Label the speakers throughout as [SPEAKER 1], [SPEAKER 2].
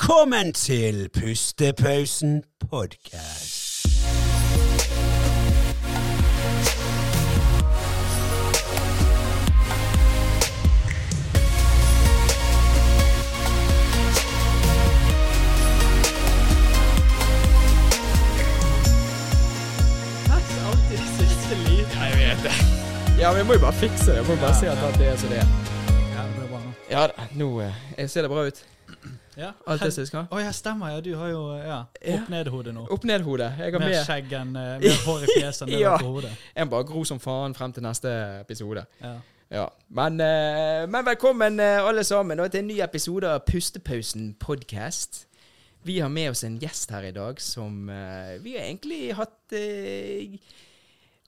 [SPEAKER 1] Velkommen til Pustepausen podcast.
[SPEAKER 2] Pass alltid de siste lydene. Jeg vet det.
[SPEAKER 3] Ja, vi må jo bare fikse det. Vi må bare si at alt det er som det er.
[SPEAKER 2] Ja, det blir bra nå.
[SPEAKER 3] Ja da, nå eh, jeg ser det bra ut.
[SPEAKER 2] Ja.
[SPEAKER 3] Alt det som jeg skal.
[SPEAKER 2] Å ja, stemmer. Ja, du har jo ja,
[SPEAKER 3] Ja.
[SPEAKER 2] opp-ned-hode nå.
[SPEAKER 3] Opp ned hodet. Jeg har
[SPEAKER 2] Mer
[SPEAKER 3] med
[SPEAKER 2] skjegg enn eh, Mer hår i fjeset enn det
[SPEAKER 3] Ja.
[SPEAKER 2] var på hodet.
[SPEAKER 3] Jeg må bare gro som faen frem til neste episode.
[SPEAKER 2] Ja.
[SPEAKER 3] Ja. Men, eh, men velkommen eh, alle sammen og til en ny episode av Pustepausen podcast. Vi har med oss en gjest her i dag som eh, vi har egentlig hatt eh,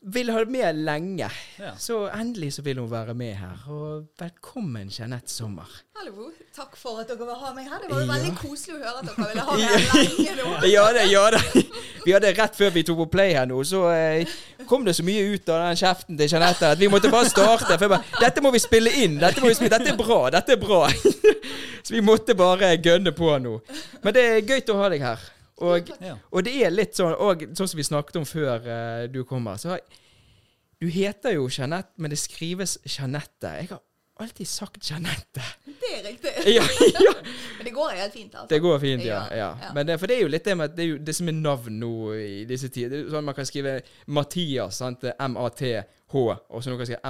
[SPEAKER 3] Vil ha med lenge.
[SPEAKER 2] Ja.
[SPEAKER 3] Så endelig så vil hun være med her. Og velkommen, Jeanette Sommer.
[SPEAKER 4] Hallo. Takk for at dere vil ha meg her. Det var jo
[SPEAKER 3] Ja.
[SPEAKER 4] veldig koselig å høre at dere ville ha meg her lenge nå.
[SPEAKER 3] Ja det, ja det. Vi hadde rett før vi tok på play her nå, så eh, kom det så mye ut av den kjeften til Jeanette at vi måtte bare starte. For jeg bare Dette må vi spille inn! Dette, må vi spille. dette er bra! Dette er bra! Så vi måtte bare gønne på nå. Men det er gøy å ha deg her. Og,
[SPEAKER 2] Ja.
[SPEAKER 3] og det er litt sånn, og sånn som vi snakket om før eh, du kom her, så har- Du heter jo Jeanette, men det skrives Jeanette. Jeg har alltid sagt Jeanette.
[SPEAKER 4] Det er riktig.
[SPEAKER 3] Ja, ja.
[SPEAKER 4] Men det går helt fint. altså.
[SPEAKER 3] Det går fint, ja.
[SPEAKER 4] Ja,
[SPEAKER 3] ja.
[SPEAKER 4] ja.
[SPEAKER 3] Men det, for det er jo litt det med at det, er jo det som er navn nå i disse tider. Det er jo Sånn Man kan skrive Mathias, sant? M-A-T-H, og så noen kan skrive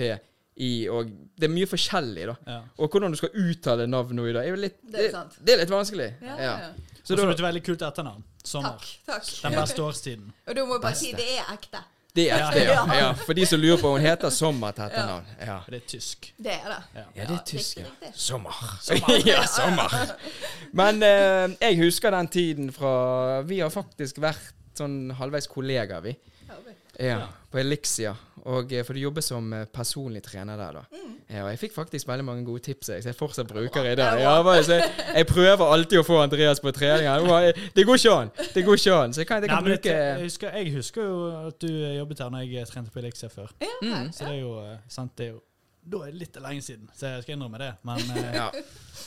[SPEAKER 3] M-A-T-I, og det er mye forskjellig, da.
[SPEAKER 2] Ja.
[SPEAKER 3] Og hvordan du skal uttale navn nå i dag, er jo litt,
[SPEAKER 4] Det er
[SPEAKER 3] det,
[SPEAKER 4] sant.
[SPEAKER 3] det er litt vanskelig.
[SPEAKER 4] Ja, ja, ja.
[SPEAKER 3] Så
[SPEAKER 2] Og så
[SPEAKER 3] da,
[SPEAKER 2] har du et veldig kult etternavn. Sommer.
[SPEAKER 4] Takk. takk.
[SPEAKER 2] Den beste årstiden.
[SPEAKER 4] Og da må jeg bare si
[SPEAKER 3] Beste.
[SPEAKER 4] det er ekte.
[SPEAKER 3] det er ekte, ja.
[SPEAKER 4] Ja.
[SPEAKER 3] ja. For de som lurer på, hun heter Sommer til etternavn. Ja.
[SPEAKER 2] Og det er tysk.
[SPEAKER 4] Det er det.
[SPEAKER 2] Ja.
[SPEAKER 3] ja, det er
[SPEAKER 4] riktig,
[SPEAKER 3] tysk, ja.
[SPEAKER 4] riktig.
[SPEAKER 3] Sommer. ja, sommer. Men eh, jeg husker den tiden fra Vi har faktisk vært sånn halvveis kollegaer, vi.
[SPEAKER 4] Ja, ok.
[SPEAKER 3] Ja, på Elixia. Og, eh, for du jobber som eh, personlig trener der, da.
[SPEAKER 2] Mm.
[SPEAKER 3] Ja, og jeg fikk faktisk veldig mange gode tips jeg, som jeg fortsatt bruker i dag. Ja, bare, så jeg, jeg prøver alltid å få Andreas på trening. her. Nå har jeg- Det går ikke an! Det går ikke an. Så jeg kan, jeg
[SPEAKER 2] Nei,
[SPEAKER 3] kan
[SPEAKER 2] men det,
[SPEAKER 3] bruke
[SPEAKER 2] jeg, husker, jeg husker jo at du eh, jobbet her når jeg eh, trente på Elixia før.
[SPEAKER 4] Ja,
[SPEAKER 3] Mm.
[SPEAKER 4] ok.
[SPEAKER 2] Så det er jo eh, sant, det er jo Da er det litt lenge siden, så jeg skal innrømme det. Men eh,
[SPEAKER 3] Ja.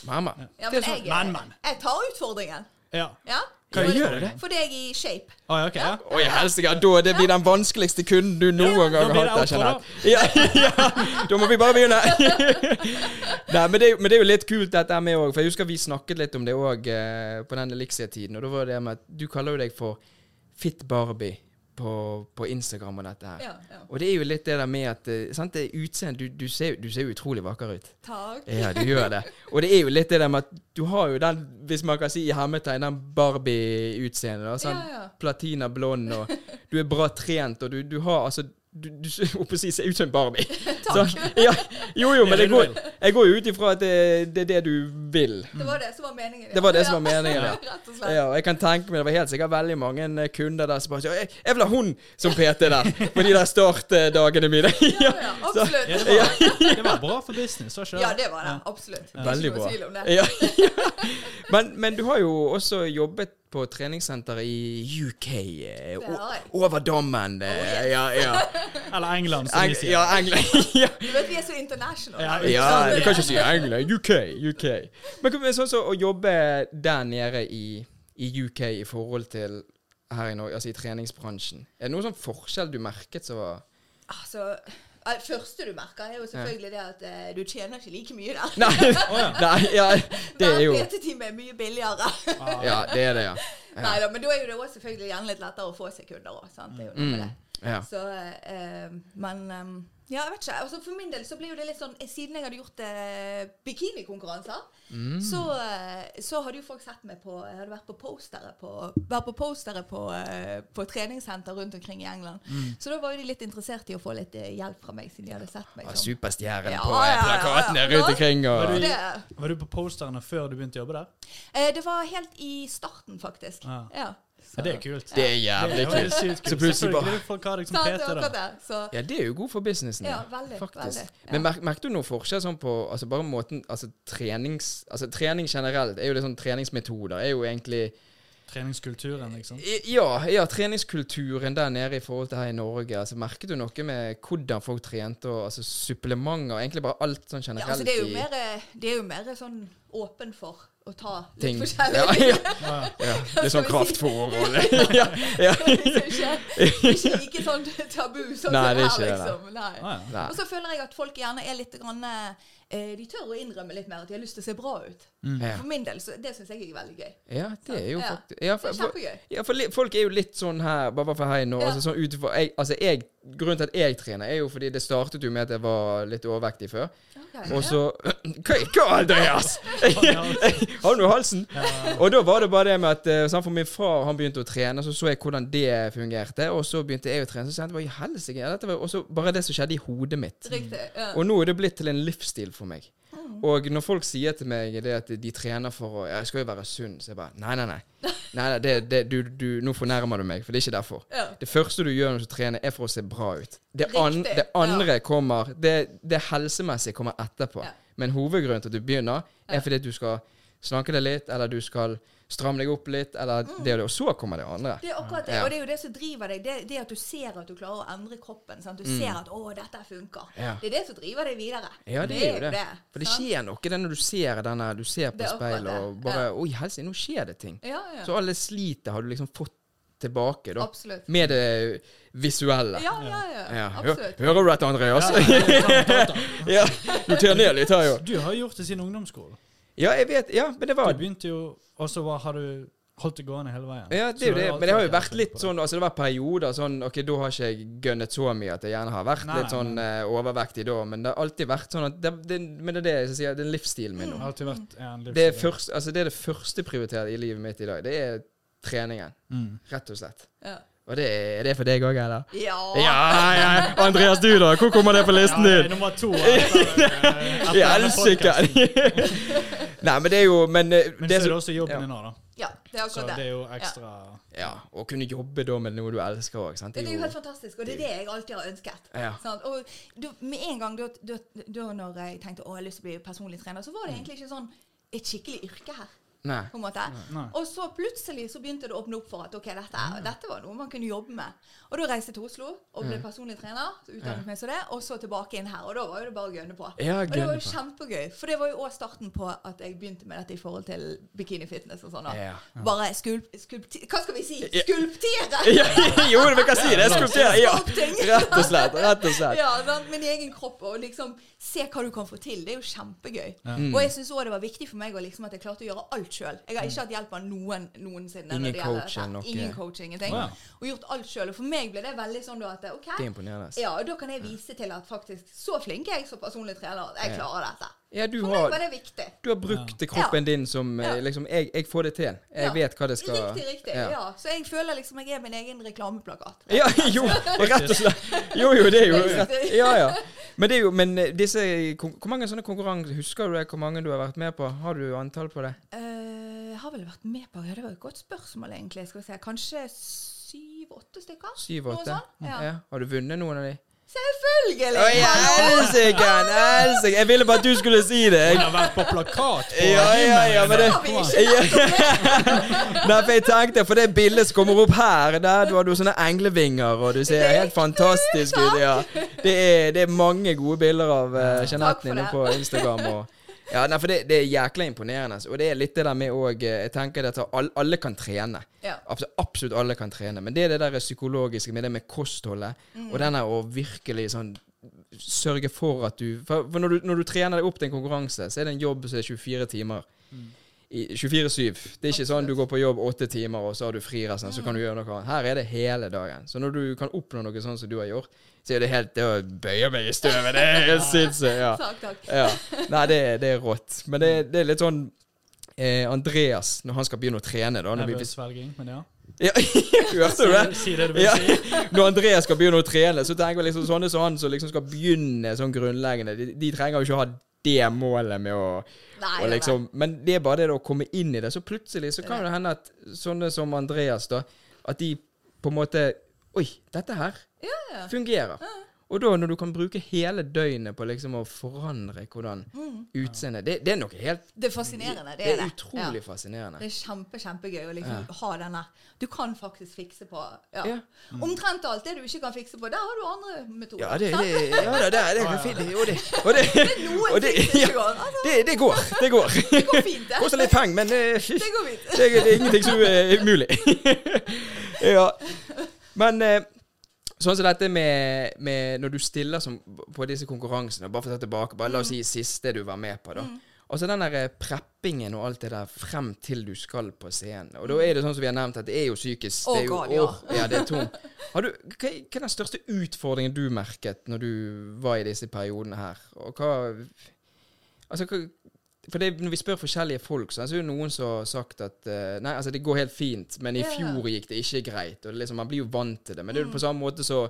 [SPEAKER 3] Mamma.
[SPEAKER 4] Ja,
[SPEAKER 3] Det er
[SPEAKER 4] men
[SPEAKER 3] sånn-
[SPEAKER 4] jeg,
[SPEAKER 2] Men, men.
[SPEAKER 4] jeg tar utfordringen.
[SPEAKER 2] ja.
[SPEAKER 4] Ja.
[SPEAKER 3] Hva
[SPEAKER 4] Fordi-
[SPEAKER 3] gjør du det?
[SPEAKER 4] Fordi jeg er i shape.
[SPEAKER 2] Å, ja, ok, ja.
[SPEAKER 3] Oi, helsike! ja, Da det blir den vanskeligste kunden du noen gang
[SPEAKER 2] da
[SPEAKER 3] har
[SPEAKER 2] blir
[SPEAKER 3] hatt.
[SPEAKER 2] det
[SPEAKER 3] jeg
[SPEAKER 2] outro,
[SPEAKER 3] kjenner. Ja, ja, da må vi bare begynne. Nei, men det, er jo- men det er jo litt kult dette her med òg, for jeg husker vi snakket litt om det òg eh, på den Elixia-tiden. Og da var det med at du kaller jo deg for Fit Barbie på, på Instagram og dette her.
[SPEAKER 4] Ja, ja.
[SPEAKER 3] Og det er jo litt det der med at eh, sant, det er utseende, du, du, ser, du ser jo utrolig vakker ut.
[SPEAKER 4] Takk.
[SPEAKER 3] Ja, du gjør det. Og det er jo litt det der med at du har jo den, hvis man kan si i hermetegn, den Barbie-utseendet. da, Sånn
[SPEAKER 4] Ja, ja.
[SPEAKER 3] platina blond, og du er bra trent, og du, du har altså du, du ser- holdt på å si, ser ut som en Barbie. Så, ja, jo, jo, men
[SPEAKER 2] Det er det
[SPEAKER 3] jeg
[SPEAKER 2] du
[SPEAKER 3] går,
[SPEAKER 2] vil.
[SPEAKER 3] jeg går jo ut ifra at det, det er det du vil.
[SPEAKER 4] Det var det som var meningen. ja.
[SPEAKER 3] Det var det som var
[SPEAKER 4] Ja.
[SPEAKER 3] meningen, ja.
[SPEAKER 4] Rett og slett.
[SPEAKER 3] Ja, og jeg kan tenke meg Det var helt sikkert veldig mange eh, kunder der som bare sier jeg, 'Jeg vil ha hun som PT der!' På de der startdagene mine.
[SPEAKER 4] Ja,
[SPEAKER 3] Ja,
[SPEAKER 4] ja,
[SPEAKER 3] så-
[SPEAKER 4] absolutt.
[SPEAKER 2] Ja, det, var, det var bra for business, var ikke
[SPEAKER 4] Ja, det var det. Absolutt. Det er
[SPEAKER 3] Veldig
[SPEAKER 4] ikke noe
[SPEAKER 3] bra.
[SPEAKER 4] tvil om det.
[SPEAKER 3] Ja, ja. Men, men du har jo også jobbet på treningssenter i UK. eh,
[SPEAKER 4] Det har jeg.
[SPEAKER 3] o- Over dammen. eh, Ja, ja.
[SPEAKER 2] Eller England, som
[SPEAKER 3] Eng
[SPEAKER 2] de sier.
[SPEAKER 3] ja, England. ja.
[SPEAKER 4] Du vet vi er så international.
[SPEAKER 2] Ja,
[SPEAKER 4] da.
[SPEAKER 3] ja, du kan ikke si England. UK. UK. Men kom- men sånn som å jobbe der nede i, i UK i forhold til her i Norge, altså i treningsbransjen. Er det noen sånn forskjell du merket som var
[SPEAKER 4] Altså, det første du merker, er jo selvfølgelig det at eh, du tjener ikke like mye der.
[SPEAKER 3] Nei, nei ja, det er jo
[SPEAKER 4] Hver PT-time er mye billigere.
[SPEAKER 3] Ja, det er det, ja.
[SPEAKER 4] Neida, men da er jo det også selvfølgelig gjerne litt lettere å få seg kunder òg. Det er jo noe med
[SPEAKER 3] Mm,
[SPEAKER 4] det.
[SPEAKER 3] ja.
[SPEAKER 4] Så, eh, men eh, Ja, jeg vet ikke. Altså, for min del så blir jo det litt sånn eh, Siden jeg hadde gjort eh, bikinikonkurranser, så, eh, så hadde jo folk sett meg på Jeg hadde vært på postere på, vært på, postere på, eh, på treningssenter rundt omkring i England. Så da var jo de litt interessert i å få litt eh, hjelp fra meg, siden de hadde sett meg. sånn.
[SPEAKER 3] Ja,
[SPEAKER 4] som-
[SPEAKER 3] Superstjernen
[SPEAKER 4] Ja,
[SPEAKER 3] på
[SPEAKER 4] ja, ja,
[SPEAKER 3] eh,
[SPEAKER 4] ja.
[SPEAKER 3] plakatene rundt omkring. Og,
[SPEAKER 2] Var du-
[SPEAKER 4] Så det,
[SPEAKER 2] Var du på posterne før du begynte å jobbe der?
[SPEAKER 4] eh, det var helt i starten, faktisk.
[SPEAKER 2] Ja.
[SPEAKER 4] Ja. Så-
[SPEAKER 2] Ja, det er kult.
[SPEAKER 3] Det er jævlig
[SPEAKER 2] Det er jo
[SPEAKER 3] kult.
[SPEAKER 2] sykt kult.
[SPEAKER 3] Så plutselig bare-
[SPEAKER 2] Selvfølgelig Folk har deg som
[SPEAKER 4] Sant, det
[SPEAKER 2] PT,
[SPEAKER 4] er akkurat
[SPEAKER 2] da.
[SPEAKER 4] det. Så
[SPEAKER 3] Ja, det er jo god for businessen.
[SPEAKER 4] Ja, veldig, veldig, ja.
[SPEAKER 3] Men mer, merket du noe forskjell sånn på altså bare måten, altså trenings, altså trening generelt er jo litt sånn treningsmetoder er jo egentlig
[SPEAKER 2] Treningskulturen, liksom.
[SPEAKER 3] I- ja, ja, treningskulturen der nede i forhold til her i Norge. altså Merket du noe med hvordan folk trente, og altså supplementer, egentlig bare alt sånn
[SPEAKER 4] Ja,
[SPEAKER 3] generelt?
[SPEAKER 4] altså det er jo
[SPEAKER 3] i-
[SPEAKER 4] mer, det er jo mer sånn åpen for å ta litt
[SPEAKER 3] Ting.
[SPEAKER 4] forskjellig.
[SPEAKER 3] Ja, Ja,
[SPEAKER 2] Ja.
[SPEAKER 4] Hva
[SPEAKER 3] det er
[SPEAKER 4] skal
[SPEAKER 3] sånn
[SPEAKER 4] vi si?
[SPEAKER 3] kraftfôr og ja, ja.
[SPEAKER 4] ikke, ikke like sånn tabu som
[SPEAKER 3] Nei, det
[SPEAKER 4] det
[SPEAKER 3] er
[SPEAKER 4] her,
[SPEAKER 3] ikke det, nei.
[SPEAKER 4] liksom. Nei.
[SPEAKER 2] Ah, ja.
[SPEAKER 3] Nei.
[SPEAKER 4] Og så føler jeg at folk gjerne er litt grann, eh, De tør å innrømme litt mer at de har lyst til å se bra ut.
[SPEAKER 3] Ja.
[SPEAKER 4] For min del, så det syns jeg er veldig gøy.
[SPEAKER 3] ja, det er jo
[SPEAKER 4] Ja.
[SPEAKER 3] faktisk ja,
[SPEAKER 4] Det
[SPEAKER 3] for,
[SPEAKER 4] er kjempegøy.
[SPEAKER 3] ja, for li- folk er jo litt sånn her, bare bare for her nå
[SPEAKER 4] Ja.
[SPEAKER 3] altså, sånn utenfor, jeg, altså, jeg, Grunnen til at jeg trener, er jo fordi det startet jo med at jeg var litt overvektig før.
[SPEAKER 4] Ok.
[SPEAKER 3] Og så Hva, hva Andreas? Har du noe i halsen?
[SPEAKER 2] Ja.
[SPEAKER 3] Og da var det bare det med at eh, sånn, For min far han begynte å trene, så så jeg hvordan det fungerte. Og så begynte jeg å trene, så kjente jeg hva i helsike er dette? Og så bare det som skjedde i hodet mitt.
[SPEAKER 4] Riktig. Ja.
[SPEAKER 3] Og nå er det blitt til en livsstil for meg. Og når folk sier til meg det at de trener for å ja, 'Jeg skal jo være sunn', så jeg bare Nei, nei, nei. nei, nei det, det, du, du, nå fornærmer du meg, for det er ikke derfor.
[SPEAKER 4] Ja.
[SPEAKER 3] Det første du gjør når du trener, er for å se bra ut. Det, an,
[SPEAKER 4] Riktig,
[SPEAKER 3] det andre kommer det, det helsemessige kommer etterpå.
[SPEAKER 4] Ja.
[SPEAKER 3] Men hovedgrunnen til at du begynner, er fordi at du skal slanke deg litt, eller du skal stramme deg opp litt, eller
[SPEAKER 4] Mm.
[SPEAKER 3] det og det. Og så kommer det andre.
[SPEAKER 4] Det er akkurat det,
[SPEAKER 3] Ja.
[SPEAKER 4] og det er jo det som driver deg. Det, det at du ser at du klarer å endre kroppen. Sant? Du ser at 'å, dette funker'.
[SPEAKER 3] Mm. Ja.
[SPEAKER 4] Det er det som driver deg videre.
[SPEAKER 3] Ja, det er jo det. For det
[SPEAKER 4] sant?
[SPEAKER 3] skjer noe det når du ser denne, du ser
[SPEAKER 4] Det
[SPEAKER 3] på
[SPEAKER 4] er akkurat
[SPEAKER 3] speilet og
[SPEAKER 4] det,
[SPEAKER 3] bare
[SPEAKER 4] ja.
[SPEAKER 3] Oi, helsike, nå skjer det ting.
[SPEAKER 4] Ja, ja.
[SPEAKER 3] Så alle slitet har du liksom fått tilbake, da.
[SPEAKER 4] Absolutt.
[SPEAKER 3] Med det visuelle.
[SPEAKER 4] Ja, ja, ja.
[SPEAKER 3] Ja, hø-
[SPEAKER 4] Absolutt.
[SPEAKER 3] Hører du dette, Andreas? Ja. Noter ned litt her, jo.
[SPEAKER 2] Du har gjort det siden ungdomsskolen.
[SPEAKER 3] Ja, jeg vet Ja, men det var
[SPEAKER 2] Du begynte jo, og så var- har du holdt det gående hele veien.
[SPEAKER 3] ja, det er
[SPEAKER 2] Så
[SPEAKER 3] jo
[SPEAKER 2] du
[SPEAKER 3] det.
[SPEAKER 2] alltid
[SPEAKER 3] Men det har jo
[SPEAKER 2] vært
[SPEAKER 3] vært
[SPEAKER 2] jævlig
[SPEAKER 3] litt
[SPEAKER 2] flink på det.
[SPEAKER 3] sånn Altså, det var perioder sånn OK, da har ikke jeg gønnet så mye at jeg gjerne har vært
[SPEAKER 2] Nei,
[SPEAKER 3] litt sånn eh, overvektig da, men det har alltid vært sånn at det, det, Men det er det jeg sier, det er livsstilen min nå.
[SPEAKER 2] Alltid vært ja, en
[SPEAKER 3] Det er,
[SPEAKER 2] livsstil.
[SPEAKER 3] først, altså det er det første prioriterte i livet mitt i dag. Det er treningen,
[SPEAKER 2] Mm.
[SPEAKER 3] rett og slett.
[SPEAKER 4] Ja.
[SPEAKER 3] Og det er, er det for deg òg, eller?
[SPEAKER 4] Ja.
[SPEAKER 3] Ja, ja, Andreas, du da? Hvor kommer det på
[SPEAKER 2] Ja,
[SPEAKER 3] listen
[SPEAKER 2] det er
[SPEAKER 3] din?
[SPEAKER 2] nummer to. etter, eh, etter
[SPEAKER 3] Jeg
[SPEAKER 2] denne
[SPEAKER 3] elsker
[SPEAKER 2] podcasten.
[SPEAKER 3] Nei, men det er jo Men, eh,
[SPEAKER 2] Men så
[SPEAKER 3] det
[SPEAKER 2] er det
[SPEAKER 3] som
[SPEAKER 2] også jobben
[SPEAKER 3] ja.
[SPEAKER 2] din nå, da.
[SPEAKER 4] ja, det er
[SPEAKER 2] Så
[SPEAKER 4] akkurat
[SPEAKER 2] det
[SPEAKER 4] det.
[SPEAKER 2] er jo ekstra
[SPEAKER 3] Ja, å kunne jobbe da med noe du elsker òg, sant?
[SPEAKER 4] Det
[SPEAKER 3] Det
[SPEAKER 4] er jo
[SPEAKER 3] er
[SPEAKER 4] helt
[SPEAKER 3] jo
[SPEAKER 4] fantastisk, og det er det jeg alltid har ønsket.
[SPEAKER 3] Ja.
[SPEAKER 4] Sant? Og da, med en gang da, da, da når jeg tenkte å, jeg har lyst til å bli personlig trener, så var det egentlig ikke sånn et skikkelig yrke her.
[SPEAKER 3] Nei.
[SPEAKER 4] på en måte.
[SPEAKER 2] Nei.
[SPEAKER 4] Og så plutselig så begynte det å åpne opp for at ok, dette, er- dette var noe man kunne jobbe med. Og da reiste jeg til Oslo og
[SPEAKER 3] Mm.
[SPEAKER 4] ble personlig trener, så utdannet meg som det, og så tilbake inn her. Og da var jo det bare å gønne på.
[SPEAKER 3] Ja,
[SPEAKER 4] og det var
[SPEAKER 3] gønne
[SPEAKER 4] jo
[SPEAKER 3] på.
[SPEAKER 4] kjempegøy, for det var jo også starten på at jeg begynte med dette i forhold til bikinifitness og sånn. da.
[SPEAKER 3] Ja.
[SPEAKER 4] Bare skulp... skulpti- Hva skal vi si?
[SPEAKER 3] Ja.
[SPEAKER 4] Skulptere!
[SPEAKER 3] Ja, jo, vi kan si det. Skulptere. Ja.
[SPEAKER 4] Skulpting.
[SPEAKER 3] Rett og slett. Rett og slett.
[SPEAKER 4] Ja, sant? min egen kropp, og liksom se hva du kan få til. Det er jo kjempegøy.
[SPEAKER 3] Mm.
[SPEAKER 4] Og jeg syns òg det var viktig for meg å liksom, at jeg klarte å gjøre alt sjøl. Jeg har ikke hatt hjelp av noen noensinne. når
[SPEAKER 3] Ingen
[SPEAKER 4] det gjelder
[SPEAKER 3] coach eller
[SPEAKER 4] dette.
[SPEAKER 3] noe.
[SPEAKER 4] Ingen coach, ingenting.
[SPEAKER 2] Wow.
[SPEAKER 4] Og gjort alt sjøl. Og for meg ble det veldig sånn da at OK,
[SPEAKER 3] Det er imponerende.
[SPEAKER 4] ja, da kan jeg vise til at faktisk så flink er jeg som personlig trener at jeg
[SPEAKER 3] Ja.
[SPEAKER 4] klarer dette.
[SPEAKER 3] Ja, du
[SPEAKER 4] For meg
[SPEAKER 3] har,
[SPEAKER 4] var det viktig.
[SPEAKER 3] du har brukt kroppen din som eh, liksom jeg, jeg får det til.
[SPEAKER 4] Ja.
[SPEAKER 3] Jeg vet hva det skal
[SPEAKER 4] Riktig, riktig. Ja. Så jeg føler liksom jeg er min egen reklameplakat.
[SPEAKER 3] Ja, jo, rett og slett. Jo, jo, det er jo
[SPEAKER 4] Faktisk.
[SPEAKER 3] rett. Ja, ja. Men det er jo, men eh, disse kon- Hvor mange sånne konkurranser Husker du det, hvor mange du har vært med på? Har du antall på det?
[SPEAKER 4] Eh, jeg har vel vært med på Ja, det var jo et godt spørsmål, egentlig. Skal vi se. Kanskje syv-åtte stykker? Noe
[SPEAKER 3] Syv-åtte?
[SPEAKER 4] sånn, ja.
[SPEAKER 3] Har du vunnet noen av de?
[SPEAKER 4] Selvfølgelig!
[SPEAKER 3] Å, jeg elsker han! Elsker. Jeg ville bare at du skulle si det.
[SPEAKER 2] Hun
[SPEAKER 3] Jeg,
[SPEAKER 2] har vært på plakat på
[SPEAKER 3] ja, ja, ja, men det
[SPEAKER 4] Har vi ikke
[SPEAKER 3] jeg, Nei, for jeg tenkte, for det bildet som kommer opp her, der du har du sånne englevinger, og du ser helt fantastisk ut. Ja. Det, er, det er mange gode bilder av uh,
[SPEAKER 4] Takk for
[SPEAKER 3] Jeanette inne
[SPEAKER 4] det.
[SPEAKER 3] på Instagram. og ja, nei, for det, det er jækla imponerende. altså. Og det er litt det der med òg Jeg tenker at alle, alle kan trene.
[SPEAKER 4] Ja.
[SPEAKER 3] Absolutt, absolutt alle kan trene. Men det er det der psykologiske med det med kostholdet, og den der å virkelig sånn Sørge for at du For, for når, du, når du trener deg opp til en konkurranse, så er det en jobb som er 24 timer. I 24-7. Det er ikke sånn du går på jobb åtte timer, og så har du fri resten, så kan du gjøre noe annet. Her er det hele dagen. Så når du kan oppnå noe sånn som du har gjort, så er det helt Det å bøye meg i støvet, det er helt sinnssykt. Ja.
[SPEAKER 4] Takk, takk.
[SPEAKER 3] Ja. Nei, det, er- det er rått. Men det, er- det er litt sånn eh, Andreas, når han skal begynne å trene, da når vi,
[SPEAKER 2] nervøs svelging. Men ja.
[SPEAKER 3] ja, Hørte du det?
[SPEAKER 2] Si det du vil
[SPEAKER 3] Ja.
[SPEAKER 2] si.
[SPEAKER 3] Når Andreas skal begynne å trene, så tenker jeg liksom sånne som han som liksom skal begynne sånn grunnleggende, de, de trenger jo ikke ha det målet med å
[SPEAKER 4] Nei,
[SPEAKER 3] og
[SPEAKER 4] nei, nei.
[SPEAKER 3] liksom, Men det er bare det da å komme inn i det. Så plutselig så kan det hende at sånne som Andreas, da, at de på en måte Oi, dette her
[SPEAKER 4] ja.
[SPEAKER 3] fungerer. Og Og da når du kan bruke hele døgnet på liksom å forandre hvordan utseendet det, det er noe helt
[SPEAKER 4] Mm. Det er fascinerende.
[SPEAKER 3] Det
[SPEAKER 4] Det er
[SPEAKER 3] er
[SPEAKER 4] det.
[SPEAKER 3] utrolig
[SPEAKER 4] Ja. Det
[SPEAKER 3] fascinerende.
[SPEAKER 4] er kjempe, kjempegøy å liksom ha denne Du kan faktisk fikse på ja.
[SPEAKER 3] Ja.
[SPEAKER 4] Omtrent alt det du ikke kan fikse på, der har du andre metoder.
[SPEAKER 3] Mm. Ja, det,
[SPEAKER 4] sant?
[SPEAKER 3] det, ja da, det, det er fint. Og det, og det,
[SPEAKER 4] Noen
[SPEAKER 3] og det,
[SPEAKER 4] fikser
[SPEAKER 3] ja,
[SPEAKER 4] ikke går. Altså,
[SPEAKER 3] det, det går. Det går.
[SPEAKER 4] det går fint, det.
[SPEAKER 3] Koster litt penger, men eh,
[SPEAKER 4] Det går fint.
[SPEAKER 3] det, er- det er ingenting som er umulig. ja. Men eh, sånn som dette med, med når du stiller som, på disse konkurransene, bare for å ta tilbake, bare la oss si
[SPEAKER 4] Mm.
[SPEAKER 3] siste du var med på, da. Altså den der eh, preppingen og alt det der frem til du skal på scenen. Og da er det sånn som vi har nevnt, at det er jo psykisk.
[SPEAKER 4] Å,
[SPEAKER 3] det er jo,
[SPEAKER 4] God, ja.
[SPEAKER 3] åh, ja, det er tungt. Har du, hva, er- hva er den største utfordringen du merket når du var i disse periodene her? Og hva Altså, hva for det, når vi spør forskjellige folk, så er det jo noen som har sagt at eh, Nei, altså, det går helt fint, men i
[SPEAKER 4] Ja. Mm.
[SPEAKER 3] fjor gikk det ikke greit. Og det er liksom, man blir jo vant til det. Men det er jo på samme måte så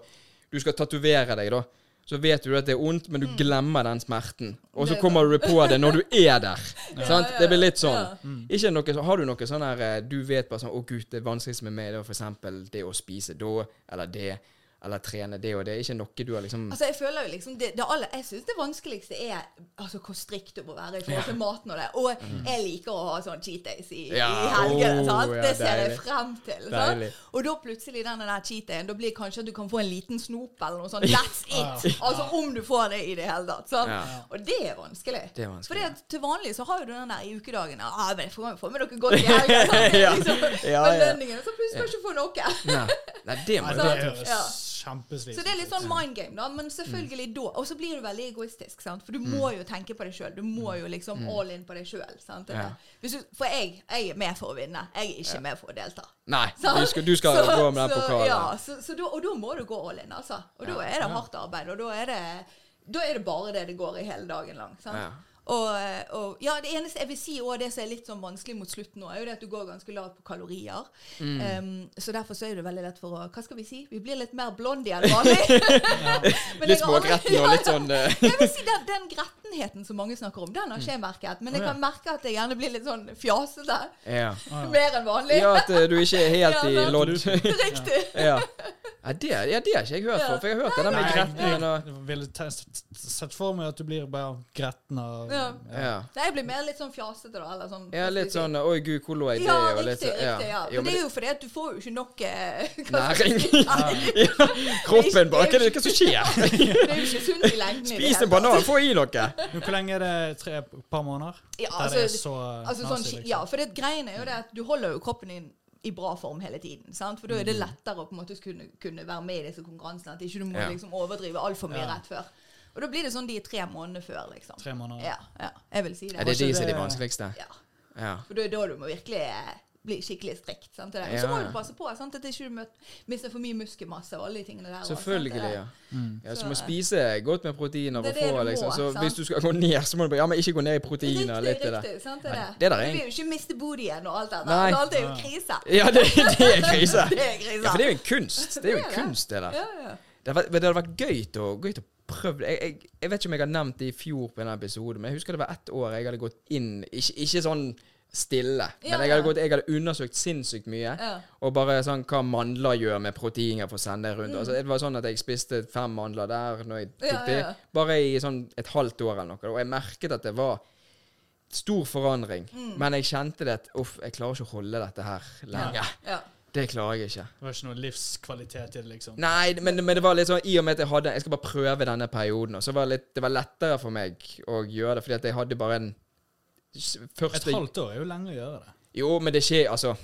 [SPEAKER 3] Du skal tatovere deg, da. Så vet du at det er ondt, men du glemmer den smerten. Og så
[SPEAKER 4] Mm. Det er
[SPEAKER 3] kommer du på det når du er der. sant?
[SPEAKER 4] ja,
[SPEAKER 3] Det blir litt
[SPEAKER 4] ja.
[SPEAKER 3] sånn. Ikke noe, så- har du noe sånn her eh, Du vet bare sånn Å, gud, det vanskeligste med meg det er for eksempel det å spise da, eller det, eller trene det og det. Ikke noe du har liksom
[SPEAKER 4] Altså, jeg føler jo liksom det, det aller, Jeg syns det vanskeligste er altså, hvor strikt du må være i forhold til maten og det. Og jeg liker å ha sånn cheat days i, i
[SPEAKER 3] Mm. Ja,
[SPEAKER 4] helgene.
[SPEAKER 3] oh,
[SPEAKER 4] sant?
[SPEAKER 3] ja,
[SPEAKER 4] det ser jeg
[SPEAKER 3] deilig.
[SPEAKER 4] frem til. Sant?
[SPEAKER 3] Deilig.
[SPEAKER 4] Og da plutselig denne der cheat dayen, da blir kanskje at du kan få en liten snop eller noe sånt. That's it! Altså om du får det i det hele tatt. Sant?
[SPEAKER 3] Ah. Ja.
[SPEAKER 4] Og det er vanskelig.
[SPEAKER 3] Det er vanskelig.
[SPEAKER 4] Fordi at til vanlig så har jo du den der i ukedagene ah, men jeg får jo få med noe godt i helgen. sant? Det er Liksom,
[SPEAKER 3] Ja, ja.
[SPEAKER 4] belønningen. Så plutselig skal du ikke få noe.
[SPEAKER 3] Nei, nei det må
[SPEAKER 2] Nei,
[SPEAKER 3] jo
[SPEAKER 2] det
[SPEAKER 3] være
[SPEAKER 2] er
[SPEAKER 3] tøft.
[SPEAKER 2] jo
[SPEAKER 4] Altså, Ja.
[SPEAKER 2] kjempeslitsomt.
[SPEAKER 4] Så det er litt sånn mind game, da. Men selvfølgelig da. Og så blir du veldig egoistisk, sant. For du må jo tenke på deg sjøl. Du må jo liksom all in på deg sjøl. sant?
[SPEAKER 3] Ja.
[SPEAKER 4] Hvis du, for jeg, jeg er med for å vinne. Jeg er ikke med for å delta.
[SPEAKER 3] Nei,
[SPEAKER 4] sant?
[SPEAKER 3] du skal, du skal
[SPEAKER 4] Så-
[SPEAKER 3] gå med den
[SPEAKER 4] så-
[SPEAKER 3] pokalen.
[SPEAKER 4] Ja, så, så da, og da må du gå all in, altså. Og da er det hardt arbeid. Og da er det, da er det bare det det går i hele dagen lang. sant?
[SPEAKER 3] Ja.
[SPEAKER 4] Og, og ja, det eneste jeg vil si også, det som er litt sånn vanskelig mot slutten nå, er jo det at du går ganske lavt på kalorier.
[SPEAKER 3] Mm.
[SPEAKER 4] Em, så derfor så er det veldig lett for å Hva skal vi si? Vi blir litt mer blondie enn vanlig. Men
[SPEAKER 3] Litt
[SPEAKER 4] jeg har aldri-
[SPEAKER 3] smågretten og litt sånn eh,
[SPEAKER 4] Jeg vil si den, den grettenheten som mange snakker om, den har ikke jeg merket. Men jeg
[SPEAKER 3] Mm. Å, ja.
[SPEAKER 4] kan merke at jeg gjerne blir litt sånn fjasete.
[SPEAKER 3] ja.
[SPEAKER 2] Ja.
[SPEAKER 4] Mer enn vanlig.
[SPEAKER 3] ja, at eh, du ikke er helt
[SPEAKER 4] Ja,
[SPEAKER 3] i
[SPEAKER 4] sant.
[SPEAKER 3] lodd.
[SPEAKER 4] Riktig.
[SPEAKER 3] ja. Ja, det, ja, det har ikke jeg hørt
[SPEAKER 4] Ja.
[SPEAKER 3] for, for jeg har hørt det
[SPEAKER 4] sånn-
[SPEAKER 3] der med
[SPEAKER 2] Nei, jeg-
[SPEAKER 3] gretten og
[SPEAKER 2] jeg ville te- s- s- sett for meg at du blir bare gretten og
[SPEAKER 4] Ja.
[SPEAKER 3] ja.
[SPEAKER 4] Nei, jeg blir mer litt sånn fjasete, da. Eller sånn,
[SPEAKER 3] ja,
[SPEAKER 4] hva skal vi
[SPEAKER 3] litt
[SPEAKER 4] si?
[SPEAKER 3] sånn Oi, gud, hvor lå jeg det?
[SPEAKER 4] Ja,
[SPEAKER 3] og
[SPEAKER 4] riktig.
[SPEAKER 3] litt sånn-
[SPEAKER 4] riktig, ja.
[SPEAKER 3] Jo,
[SPEAKER 4] Men det er jo fordi at du får jo ikke nok eh, hva skal
[SPEAKER 3] Næring.
[SPEAKER 4] vi si? Nei,
[SPEAKER 3] Kroppen bare Hva er det hva er det som skjer?
[SPEAKER 4] Det er jo ikke sunt i lengden. i det
[SPEAKER 3] Spis en
[SPEAKER 4] hele
[SPEAKER 3] banan,
[SPEAKER 4] tatt.
[SPEAKER 3] få i noe!
[SPEAKER 2] Men Hvor lenge er det? Tre, et par måneder?
[SPEAKER 4] Ja,
[SPEAKER 2] Der det er
[SPEAKER 4] altså,
[SPEAKER 2] så
[SPEAKER 4] Altså, sånn,
[SPEAKER 2] nazi, liksom.
[SPEAKER 4] ja, for det greien er jo det at du holder jo kroppen din i bra form hele tiden. Sant? For da er det
[SPEAKER 2] Mm.
[SPEAKER 4] lettere å på en måte kunne, kunne være med i disse konkurransene. At ikke du må
[SPEAKER 3] Ja.
[SPEAKER 4] liksom overdrive altfor mye
[SPEAKER 2] Ja.
[SPEAKER 4] rett før. Og da blir det sånn de tre månedene før, liksom.
[SPEAKER 2] Tre måneder.
[SPEAKER 4] Ja, ja, jeg vil si
[SPEAKER 3] Er det
[SPEAKER 4] det.
[SPEAKER 3] de som er de vanskeligste?
[SPEAKER 4] Ja.
[SPEAKER 3] Ja.
[SPEAKER 4] For da er det da du må virkelig eh, bli skikkelig strikt. Sant? Og så
[SPEAKER 3] Ja,
[SPEAKER 4] må
[SPEAKER 3] ja.
[SPEAKER 4] du passe på sant? at ikke du møt- mister for mye muskelmasse og alle de tingene der. også, sant?
[SPEAKER 3] Selvfølgelig, ja. ja. Så må spise godt med proteiner og
[SPEAKER 4] Det er det du
[SPEAKER 3] få,
[SPEAKER 4] må,
[SPEAKER 3] liksom. Så
[SPEAKER 4] sant?
[SPEAKER 3] hvis du skal gå ned, så må du bare Ja, men ikke gå ned i
[SPEAKER 4] Riktig,
[SPEAKER 3] proteiner og litt det der.
[SPEAKER 4] riktig. Sant? Det, er
[SPEAKER 3] Ja,
[SPEAKER 4] det.
[SPEAKER 3] det der er
[SPEAKER 4] du
[SPEAKER 3] en-
[SPEAKER 4] vil jo ikke miste bodyen og alt det der.
[SPEAKER 3] Nei.
[SPEAKER 4] Altså, Alt er jo krise.
[SPEAKER 3] Ja, det, det er krise.
[SPEAKER 4] Det er krise.
[SPEAKER 3] Ja, for det er jo en kunst. Det er jo en
[SPEAKER 4] Det er det.
[SPEAKER 3] kunst, det der.
[SPEAKER 4] Ja, ja.
[SPEAKER 3] Det hadde vært, men det hadde vært gøy til å, gøy til å prøve det. Jeg, jeg, jeg vet ikke om jeg har nevnt det i fjor på en episode, men jeg husker det var ett år jeg hadde gått inn Ikke, ikke sånn stille,
[SPEAKER 4] Ja,
[SPEAKER 3] men jeg hadde,
[SPEAKER 4] ja.
[SPEAKER 3] gått, jeg hadde undersøkt sinnssykt mye.
[SPEAKER 4] Ja.
[SPEAKER 3] Og bare sånn hva mandler gjør med proteiner for å sende det rundt. Altså, det var sånn at jeg spiste fem mandler der når jeg tok
[SPEAKER 4] Mm. Ja, ja, ja.
[SPEAKER 3] det, bare i sånn et halvt år eller noe. Og jeg merket at det var stor forandring. Men jeg kjente det at uff, jeg klarer ikke å holde dette her lenge.
[SPEAKER 4] Mm. Ja.
[SPEAKER 3] Det klarer jeg ikke.
[SPEAKER 2] Det var ikke noe livskvalitet i det, liksom.
[SPEAKER 3] Nei, men, men det var litt sånn i og med at jeg hadde Jeg skal bare prøve denne perioden. Og så var det litt Det var lettere for meg å gjøre det, fordi at jeg hadde bare en s-
[SPEAKER 2] Et
[SPEAKER 3] Første
[SPEAKER 2] halvt år er jo lenge å gjøre det.
[SPEAKER 3] Jo, men det skjer, altså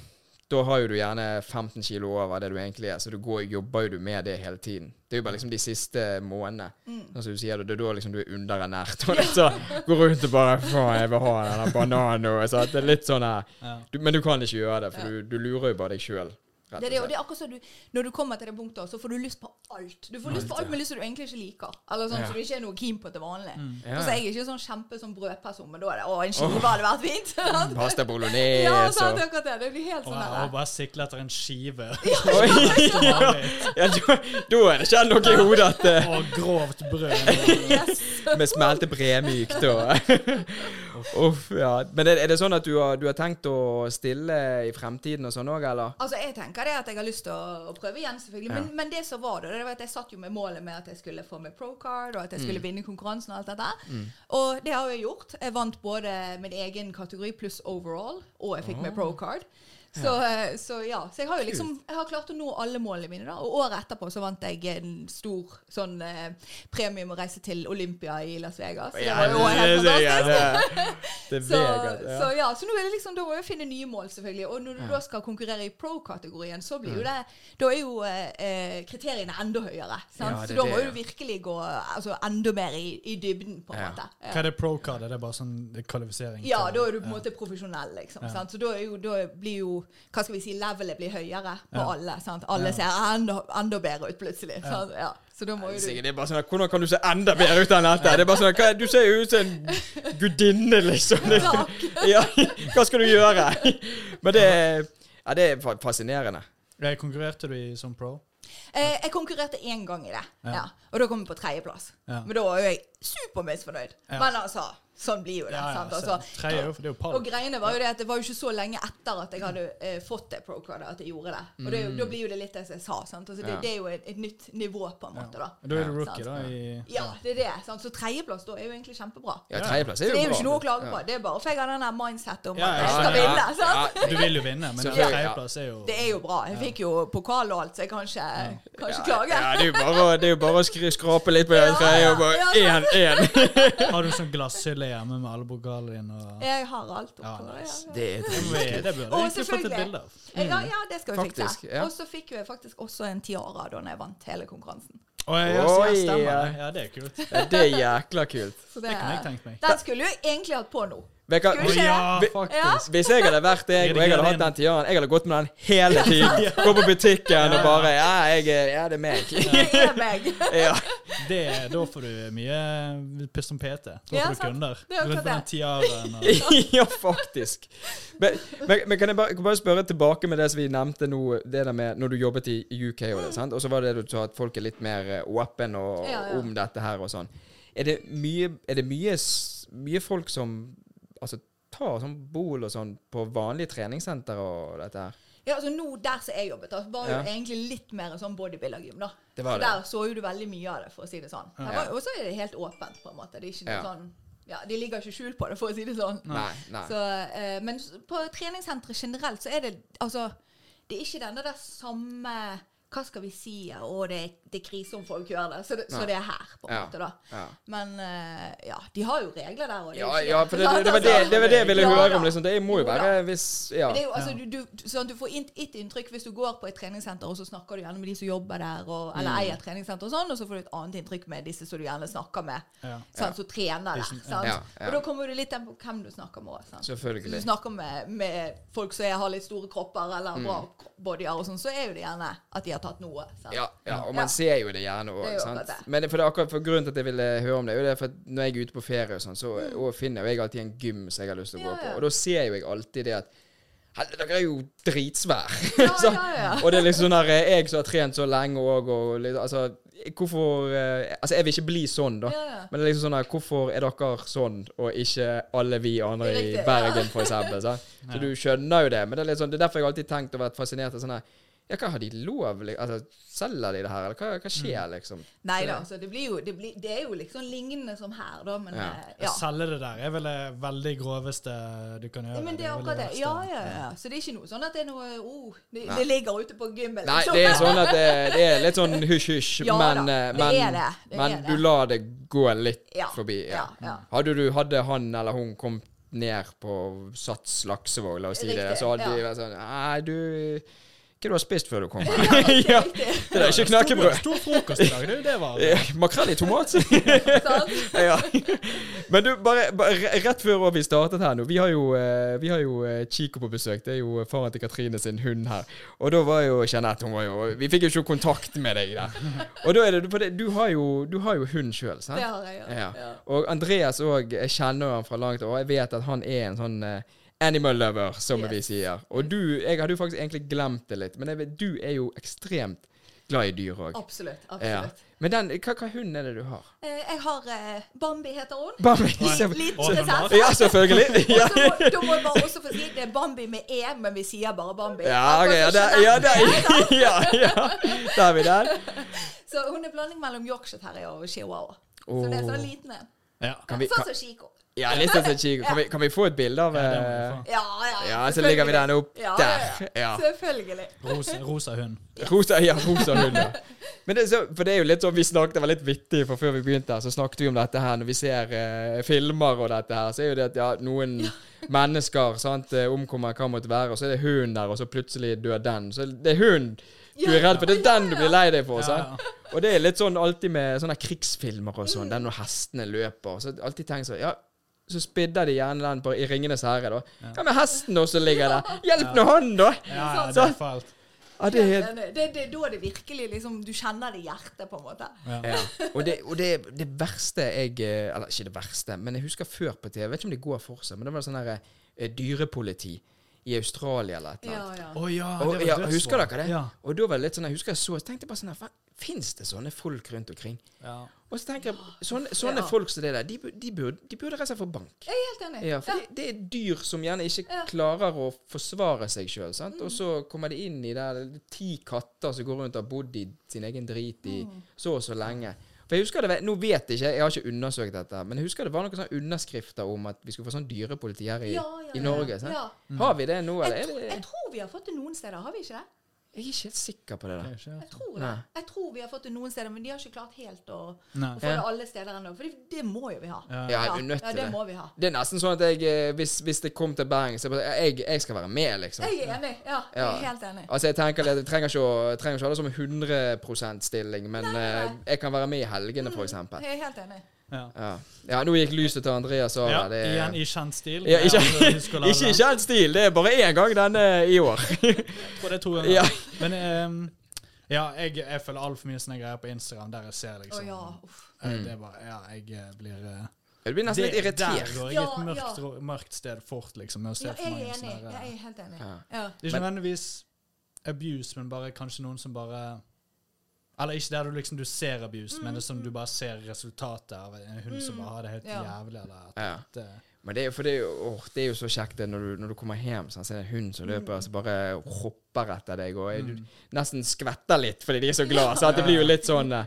[SPEAKER 3] Da har jo du gjerne 15 kilo over det du egentlig er, så du går, jobber jo du med det hele tiden. Det er jo bare liksom de siste månedene.
[SPEAKER 4] Mm.
[SPEAKER 3] Sånn som du sier, det er da liksom du er underernært. Og litt sånn Går rundt og bare Faen, jeg vil ha den der bananen og sånn. Det er litt sånn her
[SPEAKER 2] Ja.
[SPEAKER 3] du, Men du kan ikke gjøre det, for du, du lurer jo bare deg sjøl.
[SPEAKER 4] Det er det, og det er akkurat som du Når du kommer til det punktet, så får du lyst på alt. Du får lyst på alt med lyst som du egentlig ikke liker. Eller sånn
[SPEAKER 3] Ja.
[SPEAKER 4] som du ikke er noe keen på til vanlig.
[SPEAKER 3] Ja.
[SPEAKER 4] Altså, jeg er ikke sånn kjempe sånn brødperson, men da er det Å, en skive hadde vært fint!
[SPEAKER 3] Pasta
[SPEAKER 4] ja,
[SPEAKER 3] bolognese
[SPEAKER 4] sant,
[SPEAKER 3] og
[SPEAKER 4] akkurat det. Det blir helt
[SPEAKER 2] Og
[SPEAKER 4] sånn
[SPEAKER 2] jeg
[SPEAKER 4] der.
[SPEAKER 2] har bare siklet etter en skive.
[SPEAKER 3] ja, ja da, da er det ikke noe i hodet at eh,
[SPEAKER 2] Og grovt brød.
[SPEAKER 4] Yes.
[SPEAKER 3] vi smelter bremykt og
[SPEAKER 2] Og
[SPEAKER 3] Uff, ja. Men er, er det sånn at du har, du har tenkt å stille i fremtiden og sånn òg, eller?
[SPEAKER 4] Altså, jeg tenker det at jeg har lyst til å, å prøve igjen, selvfølgelig. Men, men det som var det, det var at jeg satt jo med målet med at jeg skulle få meg pro-card, og at jeg skulle vinne konkurransen og alt dette. Og det har jeg gjort. Jeg vant både min egen kategori pluss overall, og jeg fikk meg pro-card. Så eh, så ja. Så jeg har jo liksom jeg har klart å nå alle målene mine, da. Og året etterpå så vant jeg en stor sånn eh, premie med å reise til Olympia i Las Vegas. Så det var jo helt fantastisk.
[SPEAKER 3] Det er
[SPEAKER 4] Så,
[SPEAKER 3] Vegas, ja.
[SPEAKER 4] så ja, så nå er det liksom, da må jeg finne nye mål, selvfølgelig. Og når du da skal konkurrere i pro-kategorien, så blir jo det Da er jo eh, eh, kriteriene enda høyere. Sant?
[SPEAKER 3] Ja, det er
[SPEAKER 4] så da må
[SPEAKER 3] det,
[SPEAKER 4] du virkelig gå altså, enda mer i, i dybden, på en
[SPEAKER 3] Ja.
[SPEAKER 4] måte.
[SPEAKER 2] Hva
[SPEAKER 4] Ja.
[SPEAKER 2] er det pro-card? Er det bare sånn det er kvalifisering?
[SPEAKER 4] ja,
[SPEAKER 2] til-
[SPEAKER 4] da er du på en måte profesjonell, liksom. Sant? Så da, er jo, da blir jo Hva skal vi si, levelet blir høyere på
[SPEAKER 2] Ja.
[SPEAKER 4] alle. Sant? Alle
[SPEAKER 2] Ja. ser
[SPEAKER 4] ser enda, bedre ut plutselig. Ja. Ja. Så da må jo du
[SPEAKER 3] Sikkert, det er bare sånn, at, Hvordan kan du se enda bedre ut enn dette? Det er bare sånn, at, hva, Du ser jo ut som en gudinne, liksom. Det- Ja, hva skal du gjøre? Men det, er- ja, det er fa- fascinerende.
[SPEAKER 2] Ja, konkurrerte du i som pro?
[SPEAKER 4] Eh, jeg konkurrerte én gang i det,
[SPEAKER 2] Ja.
[SPEAKER 4] ja. og da kom jeg på tredjeplass.
[SPEAKER 2] Ja.
[SPEAKER 4] Men da var jo jeg supermisfornøyd.
[SPEAKER 2] Ja.
[SPEAKER 4] Men altså, sånn blir jo det. sant?
[SPEAKER 2] så
[SPEAKER 4] Altså,
[SPEAKER 2] tre er jo, det er jo pall.
[SPEAKER 4] og greiene var jo det at det var jo ikke så lenge etter at jeg hadde eh, fått det pro-card at jeg gjorde det. Og det, er jo-
[SPEAKER 2] Mm.
[SPEAKER 4] da blir jo det litt det som jeg sa. sant? Altså, det,
[SPEAKER 3] Ja.
[SPEAKER 4] det er jo et, et nytt nivå, på en
[SPEAKER 2] Ja.
[SPEAKER 4] måte. da.
[SPEAKER 2] Men Da er du
[SPEAKER 4] Ja,
[SPEAKER 2] rookie,
[SPEAKER 4] sant.
[SPEAKER 2] da. I,
[SPEAKER 4] Ja, det er det. sant? Så tredjeplass da er jo egentlig kjempebra.
[SPEAKER 3] Ja, tredjeplass er
[SPEAKER 4] Så
[SPEAKER 3] jo
[SPEAKER 4] det
[SPEAKER 3] bra.
[SPEAKER 4] er jo ikke noe å klage på. Det er bare for jeg har den der mindset om
[SPEAKER 2] Ja,
[SPEAKER 4] at
[SPEAKER 2] ja,
[SPEAKER 4] jeg skal
[SPEAKER 3] ja,
[SPEAKER 4] vinne.
[SPEAKER 3] ja.
[SPEAKER 4] sant?
[SPEAKER 3] Ja,
[SPEAKER 2] du vil jo vinne, men en
[SPEAKER 3] Selvfølgelig, ja.
[SPEAKER 2] tredjeplass er jo
[SPEAKER 4] Det er jo bra. Jeg fikk jo pokal og alt, så jeg kan ikke, kan ikke klage.
[SPEAKER 3] Ja, det er jo bare, å- det er jo bare å skri, skrape litt på den
[SPEAKER 4] Ja,
[SPEAKER 3] tredje og bare
[SPEAKER 4] ja,
[SPEAKER 3] én, én.
[SPEAKER 2] Har du sånn glasshylle hjemme med alle pokalene dine? Og...
[SPEAKER 4] Jeg har alt oppå.
[SPEAKER 2] Ja,
[SPEAKER 4] Ja,
[SPEAKER 2] nice.
[SPEAKER 4] ja.
[SPEAKER 3] Det er
[SPEAKER 2] Det burde jeg
[SPEAKER 4] Å,
[SPEAKER 2] egentlig fått et
[SPEAKER 4] selvfølgelig.
[SPEAKER 2] bilde av.
[SPEAKER 4] Ja, ja, det skal vi
[SPEAKER 3] Faktisk,
[SPEAKER 4] fikse.
[SPEAKER 3] ja.
[SPEAKER 4] Og så fikk jo jeg faktisk også en tiara da når jeg vant hele konkurransen.
[SPEAKER 2] Å, ja, ja, så ja,
[SPEAKER 3] Oi,
[SPEAKER 2] stemmer
[SPEAKER 3] ja.
[SPEAKER 2] det. Ja, det er kult.
[SPEAKER 3] Ja, det er jækla kult.
[SPEAKER 4] Så
[SPEAKER 2] Det kunne jeg tenkt meg.
[SPEAKER 4] Den skulle jo egentlig hatt på nå.
[SPEAKER 3] Vet du
[SPEAKER 4] Skal
[SPEAKER 3] hva?
[SPEAKER 4] vi
[SPEAKER 2] Å,
[SPEAKER 4] se?
[SPEAKER 2] ja,
[SPEAKER 3] Vi-
[SPEAKER 2] faktisk.
[SPEAKER 3] Hvis jeg hadde vært deg, og jeg hadde hatt den tiaren Jeg hadde gått med den hele tiden. Gå på butikken og bare Ja, jeg, er- ja det er meg.
[SPEAKER 4] Det er meg.
[SPEAKER 3] Ja.
[SPEAKER 2] Det, da får du mye pust om PT. Da
[SPEAKER 4] Ja,
[SPEAKER 2] får du
[SPEAKER 4] sant.
[SPEAKER 2] kunder.
[SPEAKER 4] Det er akkurat
[SPEAKER 2] Rundt på den
[SPEAKER 4] det.
[SPEAKER 2] tiaren og
[SPEAKER 3] ja, faktisk. Men, men, men kan jeg bare, kan bare spørre tilbake med det som vi nevnte nå, det der med når du jobbet i UK, og, det, sant? og så var det du sa at folk er litt mer eh, åpen og,
[SPEAKER 4] Mm. Ja, ja.
[SPEAKER 3] om dette her og sånn. Er det mye, er det mye, s- mye folk som altså, tar sånn bol og sånn på vanlige treningssenter og dette her?
[SPEAKER 4] Ja, altså nå der som jeg jobbet, da, var jo
[SPEAKER 3] Ja.
[SPEAKER 4] egentlig litt mer en sånn bodybuildergym, da.
[SPEAKER 3] Det var
[SPEAKER 4] så
[SPEAKER 3] det.
[SPEAKER 4] der så jo du veldig mye av det, for å si det sånn. Her
[SPEAKER 3] Ja.
[SPEAKER 4] var- Og så er det helt åpent, på en måte. Det er ikke noe
[SPEAKER 3] Ja.
[SPEAKER 4] sånn Ja, de ligger ikke skjul på det, for å si det sånn.
[SPEAKER 3] Nei. nei.
[SPEAKER 4] Så, eh, men s- på treningssentre generelt så er det altså Det er ikke denne der samme Hva skal vi si? ja, Å, det, er- det er krise om folk gjør det. Så det, så
[SPEAKER 3] Nei.
[SPEAKER 4] det er her, på en
[SPEAKER 3] Ja.
[SPEAKER 4] måte, da.
[SPEAKER 3] ja.
[SPEAKER 4] Men eh, ja, de har jo regler der òg.
[SPEAKER 3] Ja, ja, for det, det, det, var det, det var det jeg ville
[SPEAKER 4] Altså, Ja,
[SPEAKER 3] høre
[SPEAKER 4] da.
[SPEAKER 3] om. Liksom. Det må jo
[SPEAKER 4] Jo da.
[SPEAKER 3] være hvis Ja.
[SPEAKER 4] Men det er jo, altså, du, du, sånn, du får inn- ett inntrykk hvis du går på et treningssenter, og så snakker du gjerne med de som jobber der, og, eller
[SPEAKER 3] Mm.
[SPEAKER 4] eier treningssenter og sånn, og så får du et annet inntrykk med disse som du gjerne snakker med,
[SPEAKER 2] Ja.
[SPEAKER 4] sant, som trener
[SPEAKER 2] De
[SPEAKER 4] der.
[SPEAKER 2] som-
[SPEAKER 4] Sant?
[SPEAKER 3] Ja, ja.
[SPEAKER 4] Og da kommer du litt an på hvem du snakker med òg. Hvis
[SPEAKER 3] Selvfølgelig.
[SPEAKER 4] du snakker med, med folk som har litt store kropper eller bra kro- bodyer, og sånn, så er jo det gjerne at de har tatt noe. Sant?
[SPEAKER 3] Mm. Ja, ja, og
[SPEAKER 4] Ja.
[SPEAKER 3] man ser jo det gjerne
[SPEAKER 4] Det er
[SPEAKER 3] òg.
[SPEAKER 4] jo
[SPEAKER 3] sant?
[SPEAKER 4] akkurat det.
[SPEAKER 3] Men det, for det er akkurat for grunnen til at jeg ville høre om det, er jo det for at når jeg er ute på ferie, og sånn, så og finner jo jeg alltid en gym som jeg har lyst til å gå
[SPEAKER 4] Mm. Ja,
[SPEAKER 3] på.
[SPEAKER 4] ja.
[SPEAKER 3] Og da ser jo jeg alltid det at Helvete, dere er jo dritsvær.
[SPEAKER 4] Ja,
[SPEAKER 3] Så-
[SPEAKER 4] ja, ja.
[SPEAKER 3] og det er liksom sånn her eh, Jeg som har trent så lenge òg, og litt, altså Hvorfor eh, Altså, jeg vil ikke bli sånn, da.
[SPEAKER 4] Ja, ja.
[SPEAKER 3] Men det er liksom sånn her Hvorfor er dere sånn, og ikke alle vi andre
[SPEAKER 4] Det er
[SPEAKER 3] i
[SPEAKER 4] riktig,
[SPEAKER 3] Bergen, for eksempel? sant? Så du skjønner jo det. Men det er litt sånn Det er derfor jeg har alltid tenkt og vært fascinert av sånn her Ja, hva har de lov li- Altså, selger de det her, eller hva, hva skjer, liksom?
[SPEAKER 4] Nei da, så det blir jo det, blir, det er jo liksom lignende som her, da, men
[SPEAKER 3] Ja.
[SPEAKER 4] eh,
[SPEAKER 2] Å
[SPEAKER 4] ja.
[SPEAKER 2] selge det der er vel det veldig groveste du kan gjøre.
[SPEAKER 4] Men det er
[SPEAKER 2] vel
[SPEAKER 4] akkurat det.
[SPEAKER 2] verste.
[SPEAKER 4] Ja, ja, ja. Så det er ikke noe sånn at det er noe oh, det,
[SPEAKER 3] Nei.
[SPEAKER 4] det ligger ute på gymmen.
[SPEAKER 3] Nei,
[SPEAKER 4] liksom.
[SPEAKER 3] det er sånn at det, det er litt sånn hysj-hysj,
[SPEAKER 4] Ja da,
[SPEAKER 3] men, eh,
[SPEAKER 4] det
[SPEAKER 3] men,
[SPEAKER 4] er det, det
[SPEAKER 3] men
[SPEAKER 4] er det.
[SPEAKER 3] du lar det gå litt
[SPEAKER 4] Ja,
[SPEAKER 3] forbi. Ja.
[SPEAKER 4] ja, ja.
[SPEAKER 3] Hadde, du, hadde han eller hun kommet ned på Sats Laksevåg, la oss si det,
[SPEAKER 4] Riktig,
[SPEAKER 3] så hadde de
[SPEAKER 4] ja.
[SPEAKER 3] vært sånn Nei, du Hva du har spist før du kom her?
[SPEAKER 4] Riktig,
[SPEAKER 3] ja,
[SPEAKER 4] riktig.
[SPEAKER 3] det er ikke
[SPEAKER 2] Stor,
[SPEAKER 3] knekkebrød.
[SPEAKER 2] stor frokost i dag, du. Det var
[SPEAKER 3] Eh, Makrell i tomat?
[SPEAKER 4] Sant?
[SPEAKER 3] ja. Men du, bare, bare rett før vi startet her nå Vi har jo, eh, vi har jo eh, Chico på besøk. Det er jo faren til Katrine sin hund her. Og da var jo Jeanette hun var jo, Vi fikk jo ikke kontakt med deg der. Og da er det, for det, du, har jo, du har jo hund sjøl, sant?
[SPEAKER 4] Det har jeg, ja.
[SPEAKER 3] Ja. Og Andreas òg, jeg kjenner jo han fra langt og jeg vet at han er en sånn eh, animal lover, som vi
[SPEAKER 4] Yes.
[SPEAKER 3] sier. Og du, jeg hadde jo faktisk egentlig glemt det litt, men jeg vet, du er jo ekstremt glad i dyr òg.
[SPEAKER 4] Absolutt.
[SPEAKER 3] Ja.
[SPEAKER 4] absolutt.
[SPEAKER 3] Men den, hva, hva hund er det du har?
[SPEAKER 4] Eh, jeg har eh, Bambi, heter hun.
[SPEAKER 3] Bambi.
[SPEAKER 4] Liten prinsesse.
[SPEAKER 3] Ja, selvfølgelig.
[SPEAKER 4] Og
[SPEAKER 3] Ja,
[SPEAKER 4] så må, da må jeg bare også få si det er Bambi med E, men vi sier bare Bambi.
[SPEAKER 3] ja, ok, ja,
[SPEAKER 4] Akkurat som
[SPEAKER 3] der, ja, der, ja, ja. Der har vi den.
[SPEAKER 4] Chanel. Så hun er blanding mellom Yorkshire Terrier og Chihuahua. Så det er sånn liten en.
[SPEAKER 2] Ja.
[SPEAKER 3] Kan vi-
[SPEAKER 4] Sånn
[SPEAKER 3] kan-
[SPEAKER 4] som Chico.
[SPEAKER 3] Ja, litt sånn som Chico. Kan vi, kan vi få et bilde av
[SPEAKER 2] Ja, det må vi
[SPEAKER 3] eh,
[SPEAKER 2] få.
[SPEAKER 4] Ja, ja.
[SPEAKER 3] Ja, så legger vi den opp
[SPEAKER 4] Ja,
[SPEAKER 3] der. Ja.
[SPEAKER 4] Selvfølgelig.
[SPEAKER 2] Rosa, rosa hund.
[SPEAKER 3] Rosa, ja, rosa hund, ja. Men det, er så, for det er jo litt sånn, vi snakket, det var litt vittig, for før vi begynte her, så snakket vi om dette her, når vi ser eh, filmer og dette her, så er jo det at ja, noen mennesker, sant, eh, omkommer hva måtte være, og så er det hund der, og så plutselig dør den. Så det er hund du er redd for, det er den du blir lei deg for, sant? Og det er litt sånn alltid med sånne krigsfilmer og sånn, den når hestene løper, så alltid tenker jeg sånn, ja, så spidder de gjerne den på, i Ringenes Herre da. Hva med hesten også ligger der? Hjelp nå han da!
[SPEAKER 2] Ja, ja, det
[SPEAKER 3] Sant?
[SPEAKER 2] er fælt.
[SPEAKER 3] Ja, det er helt...
[SPEAKER 4] Det, det, det er da det virkelig liksom Du kjenner det i hjertet, på en måte.
[SPEAKER 2] Ja.
[SPEAKER 3] Ja. Og, det, og det, det verste jeg eh, Eller ikke det verste, men jeg husker før på TV Jeg vet ikke om det går for seg, men det var sånn her eh, dyrepoliti i Australia eller et eller
[SPEAKER 4] Ja,
[SPEAKER 3] annet.
[SPEAKER 4] ja.
[SPEAKER 2] Å ja, Ah, det
[SPEAKER 3] Og,
[SPEAKER 2] var
[SPEAKER 3] ja,
[SPEAKER 2] dødsbra.
[SPEAKER 3] husker dere det?
[SPEAKER 2] Ja.
[SPEAKER 3] Og da var det litt sånn Jeg husker jeg så jeg tenkte bare sånn her Fins det sånne folk rundt omkring?
[SPEAKER 2] Ja.
[SPEAKER 3] Og så tenker jeg Sånne, sånne
[SPEAKER 4] Ja.
[SPEAKER 3] folk som det der, de, bu- de burde, de burde rett og slett få bank.
[SPEAKER 4] Jeg er helt enig.
[SPEAKER 3] Ja, for Det, det er dyr som gjerne ikke
[SPEAKER 4] Ja. Mm.
[SPEAKER 3] klarer å forsvare seg sjøl. Og så kommer de inn i der det er ti katter som går rundt og har bodd i sin egen drit i
[SPEAKER 4] Mm.
[SPEAKER 3] så og så lenge. For jeg husker det, var- Nå vet jeg ikke, jeg har ikke undersøkt dette, men jeg husker det var noen sånne underskrifter om at vi skulle få sånn dyrepoliti her i,
[SPEAKER 4] Ja, ja, ja,
[SPEAKER 3] i Norge. Sant?
[SPEAKER 4] ja.
[SPEAKER 3] Har vi det nå, eller?
[SPEAKER 4] Jeg,
[SPEAKER 3] er
[SPEAKER 4] tror,
[SPEAKER 3] det-
[SPEAKER 4] jeg tror vi har fått det noen steder, har vi ikke det?
[SPEAKER 3] jeg er ikke helt sikker på det.
[SPEAKER 2] Det
[SPEAKER 3] der.
[SPEAKER 2] er ikke-
[SPEAKER 4] Jeg tror det.
[SPEAKER 3] Nei.
[SPEAKER 4] Jeg tror vi har fått det noen steder, men de har ikke klart helt å,
[SPEAKER 2] Nei.
[SPEAKER 4] å få det
[SPEAKER 3] Ja.
[SPEAKER 4] alle steder ennå. For det, det må jo vi ha.
[SPEAKER 2] Ja.
[SPEAKER 3] Ja, vi er nødt
[SPEAKER 4] ja,
[SPEAKER 3] til
[SPEAKER 4] det
[SPEAKER 3] det.
[SPEAKER 4] må vi ha.
[SPEAKER 3] Det er nesten sånn at jeg, eh, hvis, hvis det kom til Bergen, så er det bare jeg, jeg skal være med, liksom.
[SPEAKER 4] Jeg er enig. Ja, jeg
[SPEAKER 3] Ja.
[SPEAKER 4] er helt enig.
[SPEAKER 3] Altså jeg tenker litt, jeg trenger ikke, å- jeg trenger ikke å ha det som 100 stilling, men
[SPEAKER 4] Nei, nei, Mm. nei.
[SPEAKER 3] eh, jeg kan være med i helgene, f.eks.
[SPEAKER 4] Jeg er helt enig.
[SPEAKER 2] Ja.
[SPEAKER 3] Ja. ja, nå gikk lyset til Andreas av.
[SPEAKER 2] Ja,
[SPEAKER 3] her, det-
[SPEAKER 2] igjen i kjent stil.
[SPEAKER 3] Ja, ikke,
[SPEAKER 2] Ja, altså, husk å lade
[SPEAKER 3] ikke i
[SPEAKER 2] den.
[SPEAKER 3] kjent stil, det er bare én gang denne i år.
[SPEAKER 2] Jeg tror det er to ganger.
[SPEAKER 3] Ja.
[SPEAKER 2] Men ehm, ja, jeg, jeg følger altfor mye sånne greier på Instagram der jeg ser
[SPEAKER 4] Å
[SPEAKER 2] liksom
[SPEAKER 4] ja. Uff.
[SPEAKER 2] eh, Det er bare Ja, jeg eh, blir eh,
[SPEAKER 3] Du blir Mm. nesten litt
[SPEAKER 2] det- Der
[SPEAKER 3] irritert.
[SPEAKER 2] går jeg
[SPEAKER 4] Ja,
[SPEAKER 2] et mørkt,
[SPEAKER 4] ja.
[SPEAKER 2] ro- mørkt sted fort, liksom. Med å se
[SPEAKER 4] ja.
[SPEAKER 2] for
[SPEAKER 4] Jeg er
[SPEAKER 2] mange
[SPEAKER 4] enig.
[SPEAKER 2] sånne her,
[SPEAKER 4] Ja, jeg
[SPEAKER 2] eh,
[SPEAKER 4] er helt enig.
[SPEAKER 3] Ja.
[SPEAKER 4] Ja.
[SPEAKER 2] Det er ikke
[SPEAKER 3] Men-
[SPEAKER 2] nødvendigvis abuse, men bare kanskje noen som bare eller ikke der du liksom du ser abuse, men det er som du bare ser resultatet av en hund som bare har det helt
[SPEAKER 4] Mm, Ja.
[SPEAKER 2] jævlig. Eller at,
[SPEAKER 3] Ja.
[SPEAKER 2] at, eh,
[SPEAKER 3] Men det er, jo- for det, er jo, åh, det er jo så kjekt det når du, når du kommer hjem, sånn, så er det en hund som
[SPEAKER 4] Mm.
[SPEAKER 3] løper og så bare hopper etter deg, og jeg,
[SPEAKER 2] Mm.
[SPEAKER 3] du nesten skvetter litt fordi de er så glad. sant? det blir jo litt sånn eh,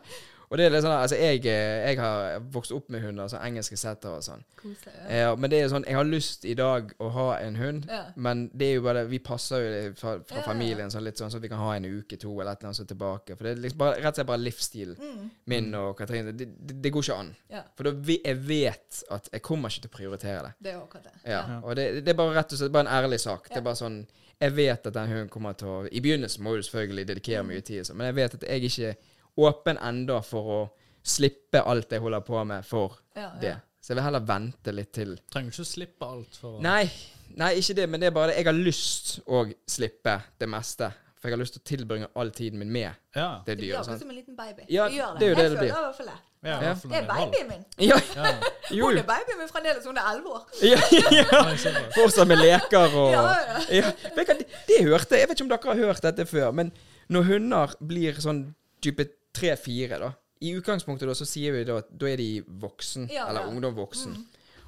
[SPEAKER 3] Og det er litt sånn, altså jeg, eh, jeg har vokst opp med hunder, altså engelske settere og sånn.
[SPEAKER 4] Koselig. Ja.
[SPEAKER 3] Ja, men det er jo sånn, jeg har lyst i dag å ha en hund,
[SPEAKER 4] Ja.
[SPEAKER 3] men det er jo bare, vi passer jo det fra, fra
[SPEAKER 4] Ja, ja, ja.
[SPEAKER 3] familien sånn litt sånn, så vi kan ha en uke, to eller et eller annet så tilbake. For det er liksom bare, rett og slett bare livsstilen min og Katrine. Det, det, det går ikke an.
[SPEAKER 4] Mm. Ja.
[SPEAKER 3] For da vi, jeg vet at jeg kommer ikke til å prioritere det.
[SPEAKER 4] Det er jo akkurat det.
[SPEAKER 3] Ja, og det, det er bare rett og slett bare en ærlig sak. Det er bare sånn, jeg vet at den hunden kommer til å, i begynnelsen må du selvfølgelig dedikere
[SPEAKER 4] Mm.
[SPEAKER 3] mye tid, og sånn, men jeg vet at jeg ikke er åpen enda for å slippe alt jeg holder på med for
[SPEAKER 4] Ja, ja.
[SPEAKER 3] det. Så jeg vil heller vente litt til
[SPEAKER 2] trenger jo ikke å slippe alt for å
[SPEAKER 3] Nei, nei, ikke det, men det er bare det. Jeg har lyst å slippe det meste. For jeg har lyst til å tilbringe all tiden min med
[SPEAKER 2] Ja.
[SPEAKER 3] det
[SPEAKER 4] Det blir
[SPEAKER 3] dyret.
[SPEAKER 4] akkurat
[SPEAKER 3] sant?
[SPEAKER 4] som en liten baby.
[SPEAKER 3] Ja,
[SPEAKER 4] Det gjør
[SPEAKER 3] det er jo det
[SPEAKER 4] jeg
[SPEAKER 3] det
[SPEAKER 4] føler
[SPEAKER 3] blir.
[SPEAKER 4] i hvert fall det.
[SPEAKER 2] Ja,
[SPEAKER 3] Ja.
[SPEAKER 2] for noe
[SPEAKER 4] Det er
[SPEAKER 2] innhold.
[SPEAKER 4] babyen min.
[SPEAKER 3] Ja,
[SPEAKER 2] Ja.
[SPEAKER 3] jo,
[SPEAKER 4] Hun
[SPEAKER 3] jo.
[SPEAKER 4] er babyen min fremdeles. Hun er elleve år.
[SPEAKER 3] Ja, ja.
[SPEAKER 2] Nei, super.
[SPEAKER 3] Fortsatt med leker og
[SPEAKER 4] Ja,
[SPEAKER 3] ja. Vet dere, Det hørte Jeg vet ikke om dere har hørt dette før, men når hunder blir sånn type 3-4, da I utgangspunktet da, så sier vi da at da er de voksen,
[SPEAKER 4] Ja,
[SPEAKER 3] eller
[SPEAKER 4] ja. Mm.
[SPEAKER 3] ungdom voksen.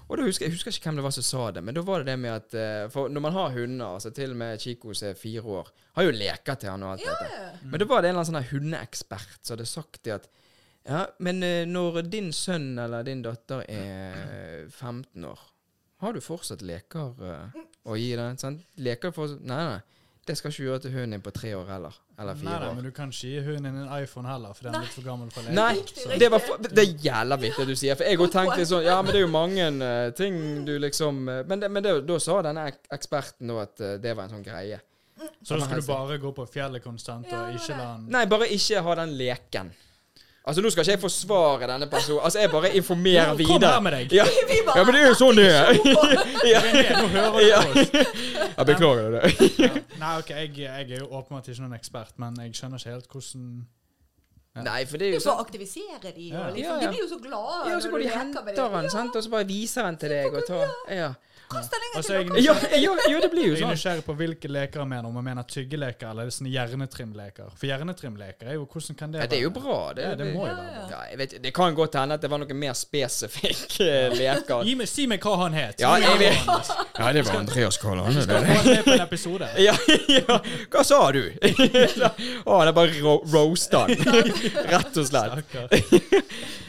[SPEAKER 3] Og da husker, Jeg husker ikke hvem det var som sa det, men da var det det med at eh, For når man har hunder, altså til og med Chico som er fire år, har jo leker til han og alt dette. Men da var det en eller annen sånn her hundeekspert som hadde sagt det at Ja, men eh, når din sønn eller din datter er 15 år, har du fortsatt leker eh, å gi den? Sant? Leker fortsatt Nei, nei. Det skal ikke du gjøre til hunden din på tre år heller. Eller
[SPEAKER 2] Nei,
[SPEAKER 3] fire
[SPEAKER 2] nei,
[SPEAKER 3] år.
[SPEAKER 2] men du kan ikke gi hunden din en iPhone heller, for den er litt for gammel for å leke.
[SPEAKER 3] Nei,
[SPEAKER 4] Riktig, riktig.
[SPEAKER 3] det, var for, det er jævla vittig du sier. For jeg har tenkt litt sånn Ja, men det er jo mange eh, ting du liksom eh, Men, det, men det, da sa denne ek- eksperten da at eh, det var en sånn greie.
[SPEAKER 2] Så da skal du bare gå på fjellet konstant
[SPEAKER 4] Ja,
[SPEAKER 2] og
[SPEAKER 4] det var
[SPEAKER 2] ikke la den
[SPEAKER 3] Nei, bare ikke ha den leken. Altså, nå skal ikke jeg forsvare denne personen. Altså, jeg bare informerer
[SPEAKER 2] Kom
[SPEAKER 3] videre.
[SPEAKER 2] her med deg.
[SPEAKER 3] Ja.
[SPEAKER 4] Vi bare
[SPEAKER 3] ja, men det er jo sånn det er. ja.
[SPEAKER 2] Nå hører du
[SPEAKER 3] Ja.
[SPEAKER 2] på oss.
[SPEAKER 3] Jeg beklager det.
[SPEAKER 2] Nei, ok, jeg, jeg er jo åpenbart ikke noen ekspert, men jeg skjønner ikke helt hvordan
[SPEAKER 3] Nei, for det er
[SPEAKER 4] Det er
[SPEAKER 3] jo
[SPEAKER 4] jo for
[SPEAKER 3] sånn
[SPEAKER 4] å aktivisere de,
[SPEAKER 2] Ja.
[SPEAKER 4] og liksom,
[SPEAKER 3] Ja, ja.
[SPEAKER 4] de blir jo så glade
[SPEAKER 3] Ja, så går de og
[SPEAKER 4] når du leker med
[SPEAKER 3] henter
[SPEAKER 4] dem.
[SPEAKER 3] han, sant? og så bare viser han til deg og tar Ja,
[SPEAKER 4] Kast den
[SPEAKER 2] Og
[SPEAKER 4] lenger
[SPEAKER 2] så
[SPEAKER 4] til
[SPEAKER 2] er
[SPEAKER 4] dere.
[SPEAKER 2] Altså, jeg-
[SPEAKER 3] ja, ja, ja det blir jo
[SPEAKER 2] Jeg er
[SPEAKER 3] sånn.
[SPEAKER 2] nysgjerrig på hvilke leker han mener, om han mener tyggeleker eller er det sånne hjernetrimleker. For hjernetrimleker er jo Hvordan kan det
[SPEAKER 3] Ja, det er jo bra. Det,
[SPEAKER 2] Ja, det må jo
[SPEAKER 4] Ja,
[SPEAKER 2] være
[SPEAKER 4] ja.
[SPEAKER 2] bra.
[SPEAKER 3] ja, jeg vet, det kan godt hende at det var noe mer spesifikke leker.
[SPEAKER 2] Gi meg, si meg hva han het.
[SPEAKER 3] Ja,
[SPEAKER 2] Så
[SPEAKER 3] jeg vet.
[SPEAKER 2] han det.
[SPEAKER 3] Ja, det var Andreas Kolland.
[SPEAKER 2] Skal han være med på en episode?
[SPEAKER 3] Ja, ja, hva sa du? Å, han er bare ro roasta han. Rett og slett.
[SPEAKER 2] Stakkar.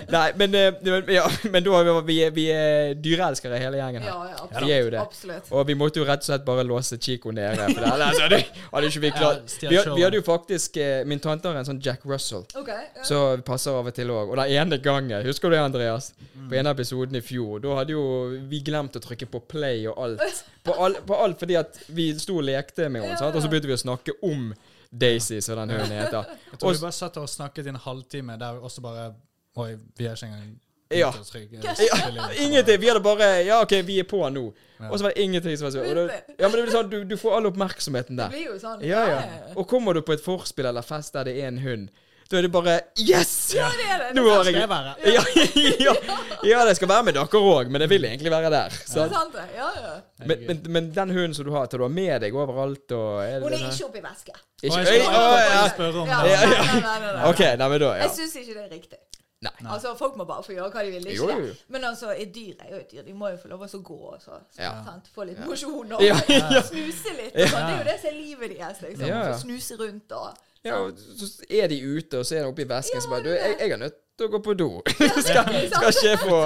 [SPEAKER 3] Nei, men, eh, men, ja, men da er vi, vi er dyreelskere hele gjengen her.
[SPEAKER 4] Ja, ja,
[SPEAKER 3] Vi er jo det.
[SPEAKER 4] absolutt. absolutt.
[SPEAKER 3] Og vi måtte jo rett og slett bare låse Chico nede. For det, altså, det hadde ikke vi klart.
[SPEAKER 2] Ja, stjel
[SPEAKER 3] Vi, had- vi
[SPEAKER 2] showet.
[SPEAKER 3] hadde jo faktisk eh, Min tante har en sånn Jack Russell.
[SPEAKER 4] Ok, ja.
[SPEAKER 3] Så vi passer av og til òg. Og den ene gangen, husker du det, Andreas? På en av episodene i fjor, da hadde jo vi glemt å trykke på play og alt. På, all, på alt fordi at vi sto og lekte med henne,
[SPEAKER 4] Ja,
[SPEAKER 3] sant? og så
[SPEAKER 4] ja.
[SPEAKER 3] begynte vi å snakke om Daisy, som den hunden heter.
[SPEAKER 2] Jeg
[SPEAKER 3] Og
[SPEAKER 2] tror vi bare satt der og snakket i en halvtime der også bare Oi, vi er ikke engang
[SPEAKER 3] Ja.
[SPEAKER 2] ute og trygge.
[SPEAKER 3] Ja, ingenting. Vi hadde bare Ja, OK, vi er på nå.
[SPEAKER 2] Ja.
[SPEAKER 3] Og så var det ingenting som var sånn. og det- Ja, men det blir sånn, du, du får all oppmerksomheten
[SPEAKER 4] Det
[SPEAKER 3] der.
[SPEAKER 4] blir jo sånn.
[SPEAKER 3] Ja, ja. Og kommer du på et forspill eller fest der det er en hund, da er det bare Yes!
[SPEAKER 4] Ja, det er det.
[SPEAKER 3] Nå
[SPEAKER 4] Det
[SPEAKER 3] har
[SPEAKER 2] Skal
[SPEAKER 3] jeg
[SPEAKER 2] jeg være?
[SPEAKER 3] ja, ja, ja, det skal være med dere òg, men det vil egentlig være der.
[SPEAKER 4] er
[SPEAKER 3] sant?
[SPEAKER 4] sant, det. Ja, ja.
[SPEAKER 3] Men, men, men den hunden som du har, tar du har med deg overalt og er det
[SPEAKER 4] Hun er
[SPEAKER 3] den her?
[SPEAKER 4] ikke oppi væske.
[SPEAKER 3] Ikke-
[SPEAKER 2] Å,
[SPEAKER 3] Øy,
[SPEAKER 2] jeg skal-
[SPEAKER 3] å, ja.
[SPEAKER 2] jeg spørre om
[SPEAKER 4] Ja,
[SPEAKER 2] det.
[SPEAKER 4] nei,
[SPEAKER 3] Ja, ja.
[SPEAKER 4] nei, nei, nei, nei.
[SPEAKER 3] OK, nei, men da ja.
[SPEAKER 4] Jeg syns ikke det er riktig.
[SPEAKER 3] Nei.
[SPEAKER 4] Altså, Folk må bare få gjøre hva de vil. det er
[SPEAKER 3] Jo,
[SPEAKER 4] Ikke
[SPEAKER 3] jo, jo.
[SPEAKER 4] det. Men altså, et dyr er jo et dyr. De må jo få lov å så gå og så, så,
[SPEAKER 3] Ja.
[SPEAKER 4] sant? få litt mosjon og
[SPEAKER 3] Ja,
[SPEAKER 4] snuse litt. Og sånn. Det er jo det som er livet deres. liksom.
[SPEAKER 3] Ja, ja.
[SPEAKER 4] Få snuse rundt og sånn.
[SPEAKER 3] ja, og så er de ute, og så er de oppi vesken,
[SPEAKER 4] Ja,
[SPEAKER 3] så bare du,
[SPEAKER 4] det er
[SPEAKER 3] jeg,
[SPEAKER 4] det.
[SPEAKER 3] jeg er nødt til å gå på do. skal, skal ikke få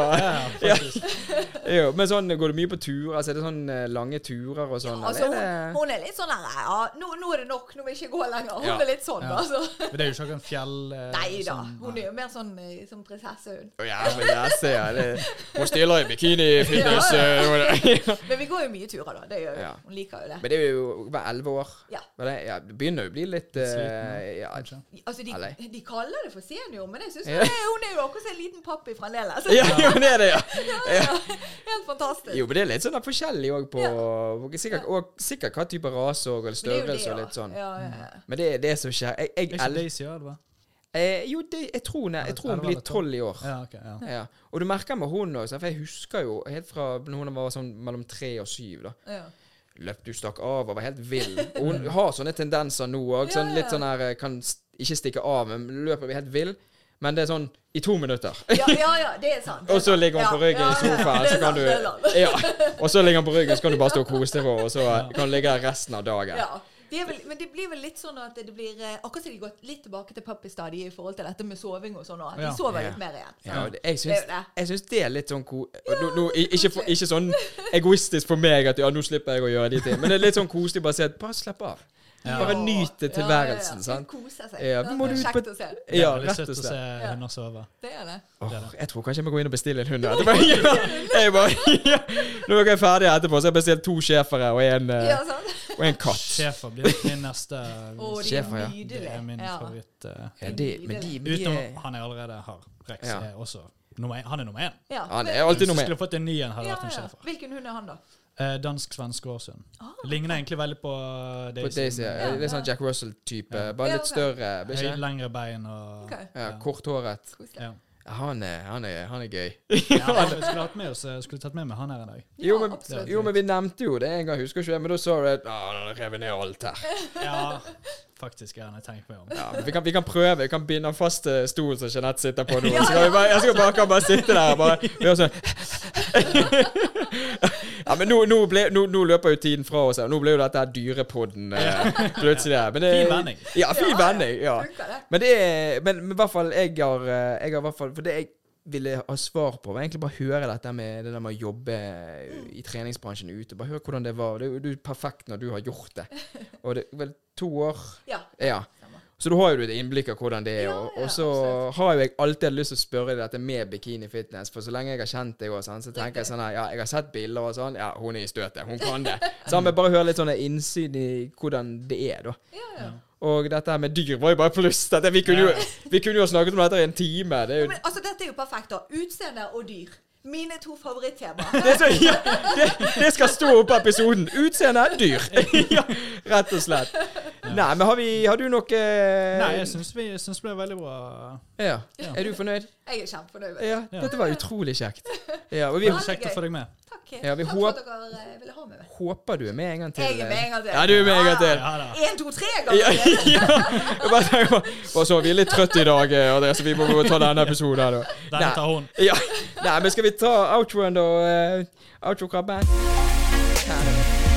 [SPEAKER 2] Ja, faktisk.
[SPEAKER 3] Jo, men sånn, går du mye på turer? Altså, er det sånn eh, lange turer og sånn?
[SPEAKER 4] Altså,
[SPEAKER 3] eller
[SPEAKER 4] hun,
[SPEAKER 3] er det...
[SPEAKER 4] hun er litt sånn der ja, nå, 'Nå er det nok, nå vil jeg ikke gå lenger.' Hun
[SPEAKER 3] Ja.
[SPEAKER 4] er litt sånn,
[SPEAKER 2] Ja.
[SPEAKER 4] altså.
[SPEAKER 2] Men det er jo ikke noen fjell... eh,
[SPEAKER 4] Nei da.
[SPEAKER 2] sånn-
[SPEAKER 4] Hun er jo mer sånn eh, som prinsessehund.
[SPEAKER 3] Å, ja, men jeg ser, ja, det... Hun stiller i bikini fitness.
[SPEAKER 4] Ja,
[SPEAKER 3] eh, og det-
[SPEAKER 4] Men vi går jo mye turer, da. Det gjør jo.
[SPEAKER 3] Ja.
[SPEAKER 4] Hun liker jo det.
[SPEAKER 3] men det er jo bare elleve år.
[SPEAKER 4] Ja.
[SPEAKER 3] Men det, ja, det begynner jo å bli litt eh,
[SPEAKER 2] Sliten,
[SPEAKER 3] ja,
[SPEAKER 2] kanskje.
[SPEAKER 4] Altså,
[SPEAKER 3] Eller?
[SPEAKER 4] de, de kaller det for senior, men jeg syns
[SPEAKER 3] Ja.
[SPEAKER 4] hun er jo akkurat som en liten pappi fremdeles.
[SPEAKER 3] ja, jo, det er det, ja.
[SPEAKER 4] Helt fantastisk.
[SPEAKER 3] Jo, men det er litt sånn der forskjellig òg på sikkert, Og sikkert hva type rase og eller
[SPEAKER 4] Men det er jo det,
[SPEAKER 3] størrelse og
[SPEAKER 4] da.
[SPEAKER 3] litt sånn.
[SPEAKER 4] Ja, ja, ja.
[SPEAKER 3] Men det er det som skjer. Jeg,
[SPEAKER 2] Er
[SPEAKER 3] jeg,
[SPEAKER 2] ikke
[SPEAKER 3] el-
[SPEAKER 2] Daisy òg, det?
[SPEAKER 3] eh, Jo, det, jeg tror hun er- jeg tror hun blir tolv i år.
[SPEAKER 2] Ja, ok. Ja.
[SPEAKER 3] Ja. Og du merker med hun òg, for jeg husker jo helt fra når hun var sånn mellom tre og syv. da
[SPEAKER 4] ja.
[SPEAKER 3] løp du stakk av og var helt vill. Og hun har sånne tendenser nå òg. Sånn,
[SPEAKER 4] Ja, ja.
[SPEAKER 3] litt sånn her eh, Kan st- ikke stikke av, men løper vi helt vill. Men det er sånn i to minutter.
[SPEAKER 4] Ja, ja, ja, det er sant.
[SPEAKER 3] Og så ligger hun på ryggen i sofaen, så kan du ja. Og så ligger hun på ryggen, så kan du bare stå og kose deg, og så kan du ligge der resten av dagen.
[SPEAKER 4] Ja. Det er vel, men det blir vel litt sånn at det blir eh, Akkurat som de går litt tilbake til pappistadiet i forhold til dette med soving og sånn. og at De
[SPEAKER 2] Ja.
[SPEAKER 4] sover
[SPEAKER 3] Ja.
[SPEAKER 4] litt mer igjen.
[SPEAKER 3] Ja, og det- jeg syns,
[SPEAKER 4] Det er jo det.
[SPEAKER 3] jeg syns det er litt sånn ko... og nå- nå, i- ikke, for, ikke sånn egoistisk for meg at ja, nå slipper jeg å gjøre de tingene, men det er litt sånn koselig bare å si at bare slapp av. Bare nyt tilværelsen, sant.
[SPEAKER 4] Kose seg.
[SPEAKER 3] Ja,
[SPEAKER 4] sant?
[SPEAKER 3] nå må du
[SPEAKER 4] Det er
[SPEAKER 3] ut på-
[SPEAKER 4] Kjekt å se.
[SPEAKER 2] Det er
[SPEAKER 3] Ja,
[SPEAKER 2] veldig
[SPEAKER 3] rett og
[SPEAKER 2] søtt å
[SPEAKER 3] slett.
[SPEAKER 2] se
[SPEAKER 4] Ja.
[SPEAKER 2] hunder sove.
[SPEAKER 4] Det er det.
[SPEAKER 3] Åh,
[SPEAKER 2] Det er det.
[SPEAKER 3] jeg tror kanskje jeg må gå inn og bestille en hund. her. Det var- Ja, jeg bare, ja. Når dere er ferdige etterpå, så har jeg bestilt to schæfere og, en, eh,
[SPEAKER 4] Ja, sant?
[SPEAKER 3] og en katt.
[SPEAKER 2] Schæfer blir min neste
[SPEAKER 4] Å, de
[SPEAKER 3] Schæfer,
[SPEAKER 4] er
[SPEAKER 3] ja.
[SPEAKER 2] Det
[SPEAKER 4] nydelige.
[SPEAKER 2] er min
[SPEAKER 4] Ja.
[SPEAKER 2] favoritt. eh,
[SPEAKER 3] Ja, det, men de, de
[SPEAKER 2] Utenom
[SPEAKER 3] er,
[SPEAKER 2] han jeg allerede har. Rex
[SPEAKER 3] Ja.
[SPEAKER 2] er også nummer én. Han er nummer én.
[SPEAKER 4] Ja.
[SPEAKER 3] Han
[SPEAKER 4] men-
[SPEAKER 3] er alltid
[SPEAKER 2] Hvis jeg
[SPEAKER 3] nummer én.
[SPEAKER 2] skulle fått en ny en, hadde det
[SPEAKER 4] ja,
[SPEAKER 2] vært en
[SPEAKER 4] ja. Ah.
[SPEAKER 2] schæfer.
[SPEAKER 4] Hvilken hund er han, da?
[SPEAKER 2] Eh, Dansk-svensk gårdshund. Ligner egentlig veldig på eh, Daisy.
[SPEAKER 3] På Daisy, ja. Litt sånn Jack Russell-type. Bare litt større.
[SPEAKER 2] men Høy,
[SPEAKER 3] Ikke?
[SPEAKER 2] lengre bein og
[SPEAKER 4] Ok.
[SPEAKER 3] Ja, Korthåret.
[SPEAKER 4] Koselig.
[SPEAKER 2] ja.
[SPEAKER 3] Han er, han er, han er gøy.
[SPEAKER 2] ja, men jeg skulle hatt med oss, jeg skulle tatt med meg han her en dag.
[SPEAKER 3] Jo men,
[SPEAKER 4] absolutt.
[SPEAKER 3] jo, men vi nevnte jo det en gang, husker ikke jeg, men da sa du at ah, nå rev jeg ned alt her.
[SPEAKER 2] Ja, faktisk er han jeg tenkt meg om.
[SPEAKER 3] Ja, men vi, kan, vi kan prøve. Vi kan binde han fast til stolen som Jeanette sitter på nå. Så kan vi bare, jeg skal bare, kan bare sitte der og bare gjøre sånn. Ja, men nå, nå, ble, nå, nå løper jo tiden fra oss. her. Nå ble jo dette her dyrepodden eh, plutselig. her. Men det,
[SPEAKER 2] Fin vending.
[SPEAKER 3] Ja, fin
[SPEAKER 4] Ja,
[SPEAKER 3] vending. Ja.
[SPEAKER 4] Funker det?
[SPEAKER 3] Men det er Men men i hvert fall, jeg har eh, Jeg har i hvert fall For det jeg ville ha svar på, var egentlig bare høre dette med det der med å jobbe i treningsbransjen ute. Bare høre hvordan det var. Det er jo- Det er jo perfekt når du har gjort det. Og det er vel to år
[SPEAKER 4] Ja.
[SPEAKER 3] ja. Så da har jo du et innblikk av hvordan det er.
[SPEAKER 4] Ja,
[SPEAKER 3] og,
[SPEAKER 4] ja,
[SPEAKER 3] og så
[SPEAKER 4] absolutt.
[SPEAKER 3] har jo jeg alltid hatt lyst til å spørre deg dette med bikini fitness. For så lenge jeg har kjent deg, og sånn, så tenker jeg sånn her Ja, jeg har sett bilder og sånn. Ja, hun er i støtet. Hun kan det. Så vi bare hører litt sånn innsyn i hvordan det er, da.
[SPEAKER 4] Ja, ja.
[SPEAKER 3] Og dette her med dyr var jo bare pluss. Dette, vi, kunne jo, vi kunne jo ha snakket om dette i en time. Det er
[SPEAKER 4] Ja,
[SPEAKER 3] jo
[SPEAKER 4] Men, altså, dette er jo perfekt, da. Utseende og dyr. Mine to favorittemaer.
[SPEAKER 3] Det, er så, ja, det, det skal stå oppe i episoden. Utseende dyr. ja, rett og slett. Nei, men har, vi, har du noe eh,
[SPEAKER 2] Nei, jeg syns vi- jeg syns det ble veldig bra.
[SPEAKER 3] ja. Er du fornøyd?
[SPEAKER 4] Jeg er kjempefornøyd. med det.
[SPEAKER 3] Ja, dette var utrolig kjekt. Ja, og vi
[SPEAKER 2] Det var kjekt å få deg med.
[SPEAKER 4] Takk,
[SPEAKER 3] Ja, vi
[SPEAKER 4] Takk for
[SPEAKER 3] håp-
[SPEAKER 4] at dere eh, ville ha meg med.
[SPEAKER 3] håper du er med en gang til. eh.
[SPEAKER 4] Jeg er med en gang til.
[SPEAKER 3] Ja, du er med en gang til.
[SPEAKER 2] Ja da.
[SPEAKER 4] Én, to, tre
[SPEAKER 3] Ja,
[SPEAKER 4] ganger.
[SPEAKER 3] ja. Jeg bare tenker på- Og så, vi er litt trøtte i dag, eh, André, så vi må gå og ta denne episoden her, da.
[SPEAKER 2] Denne tar hun.
[SPEAKER 3] Ja. Nei, men skal vi ta outroen, da? eh, Outro hva band?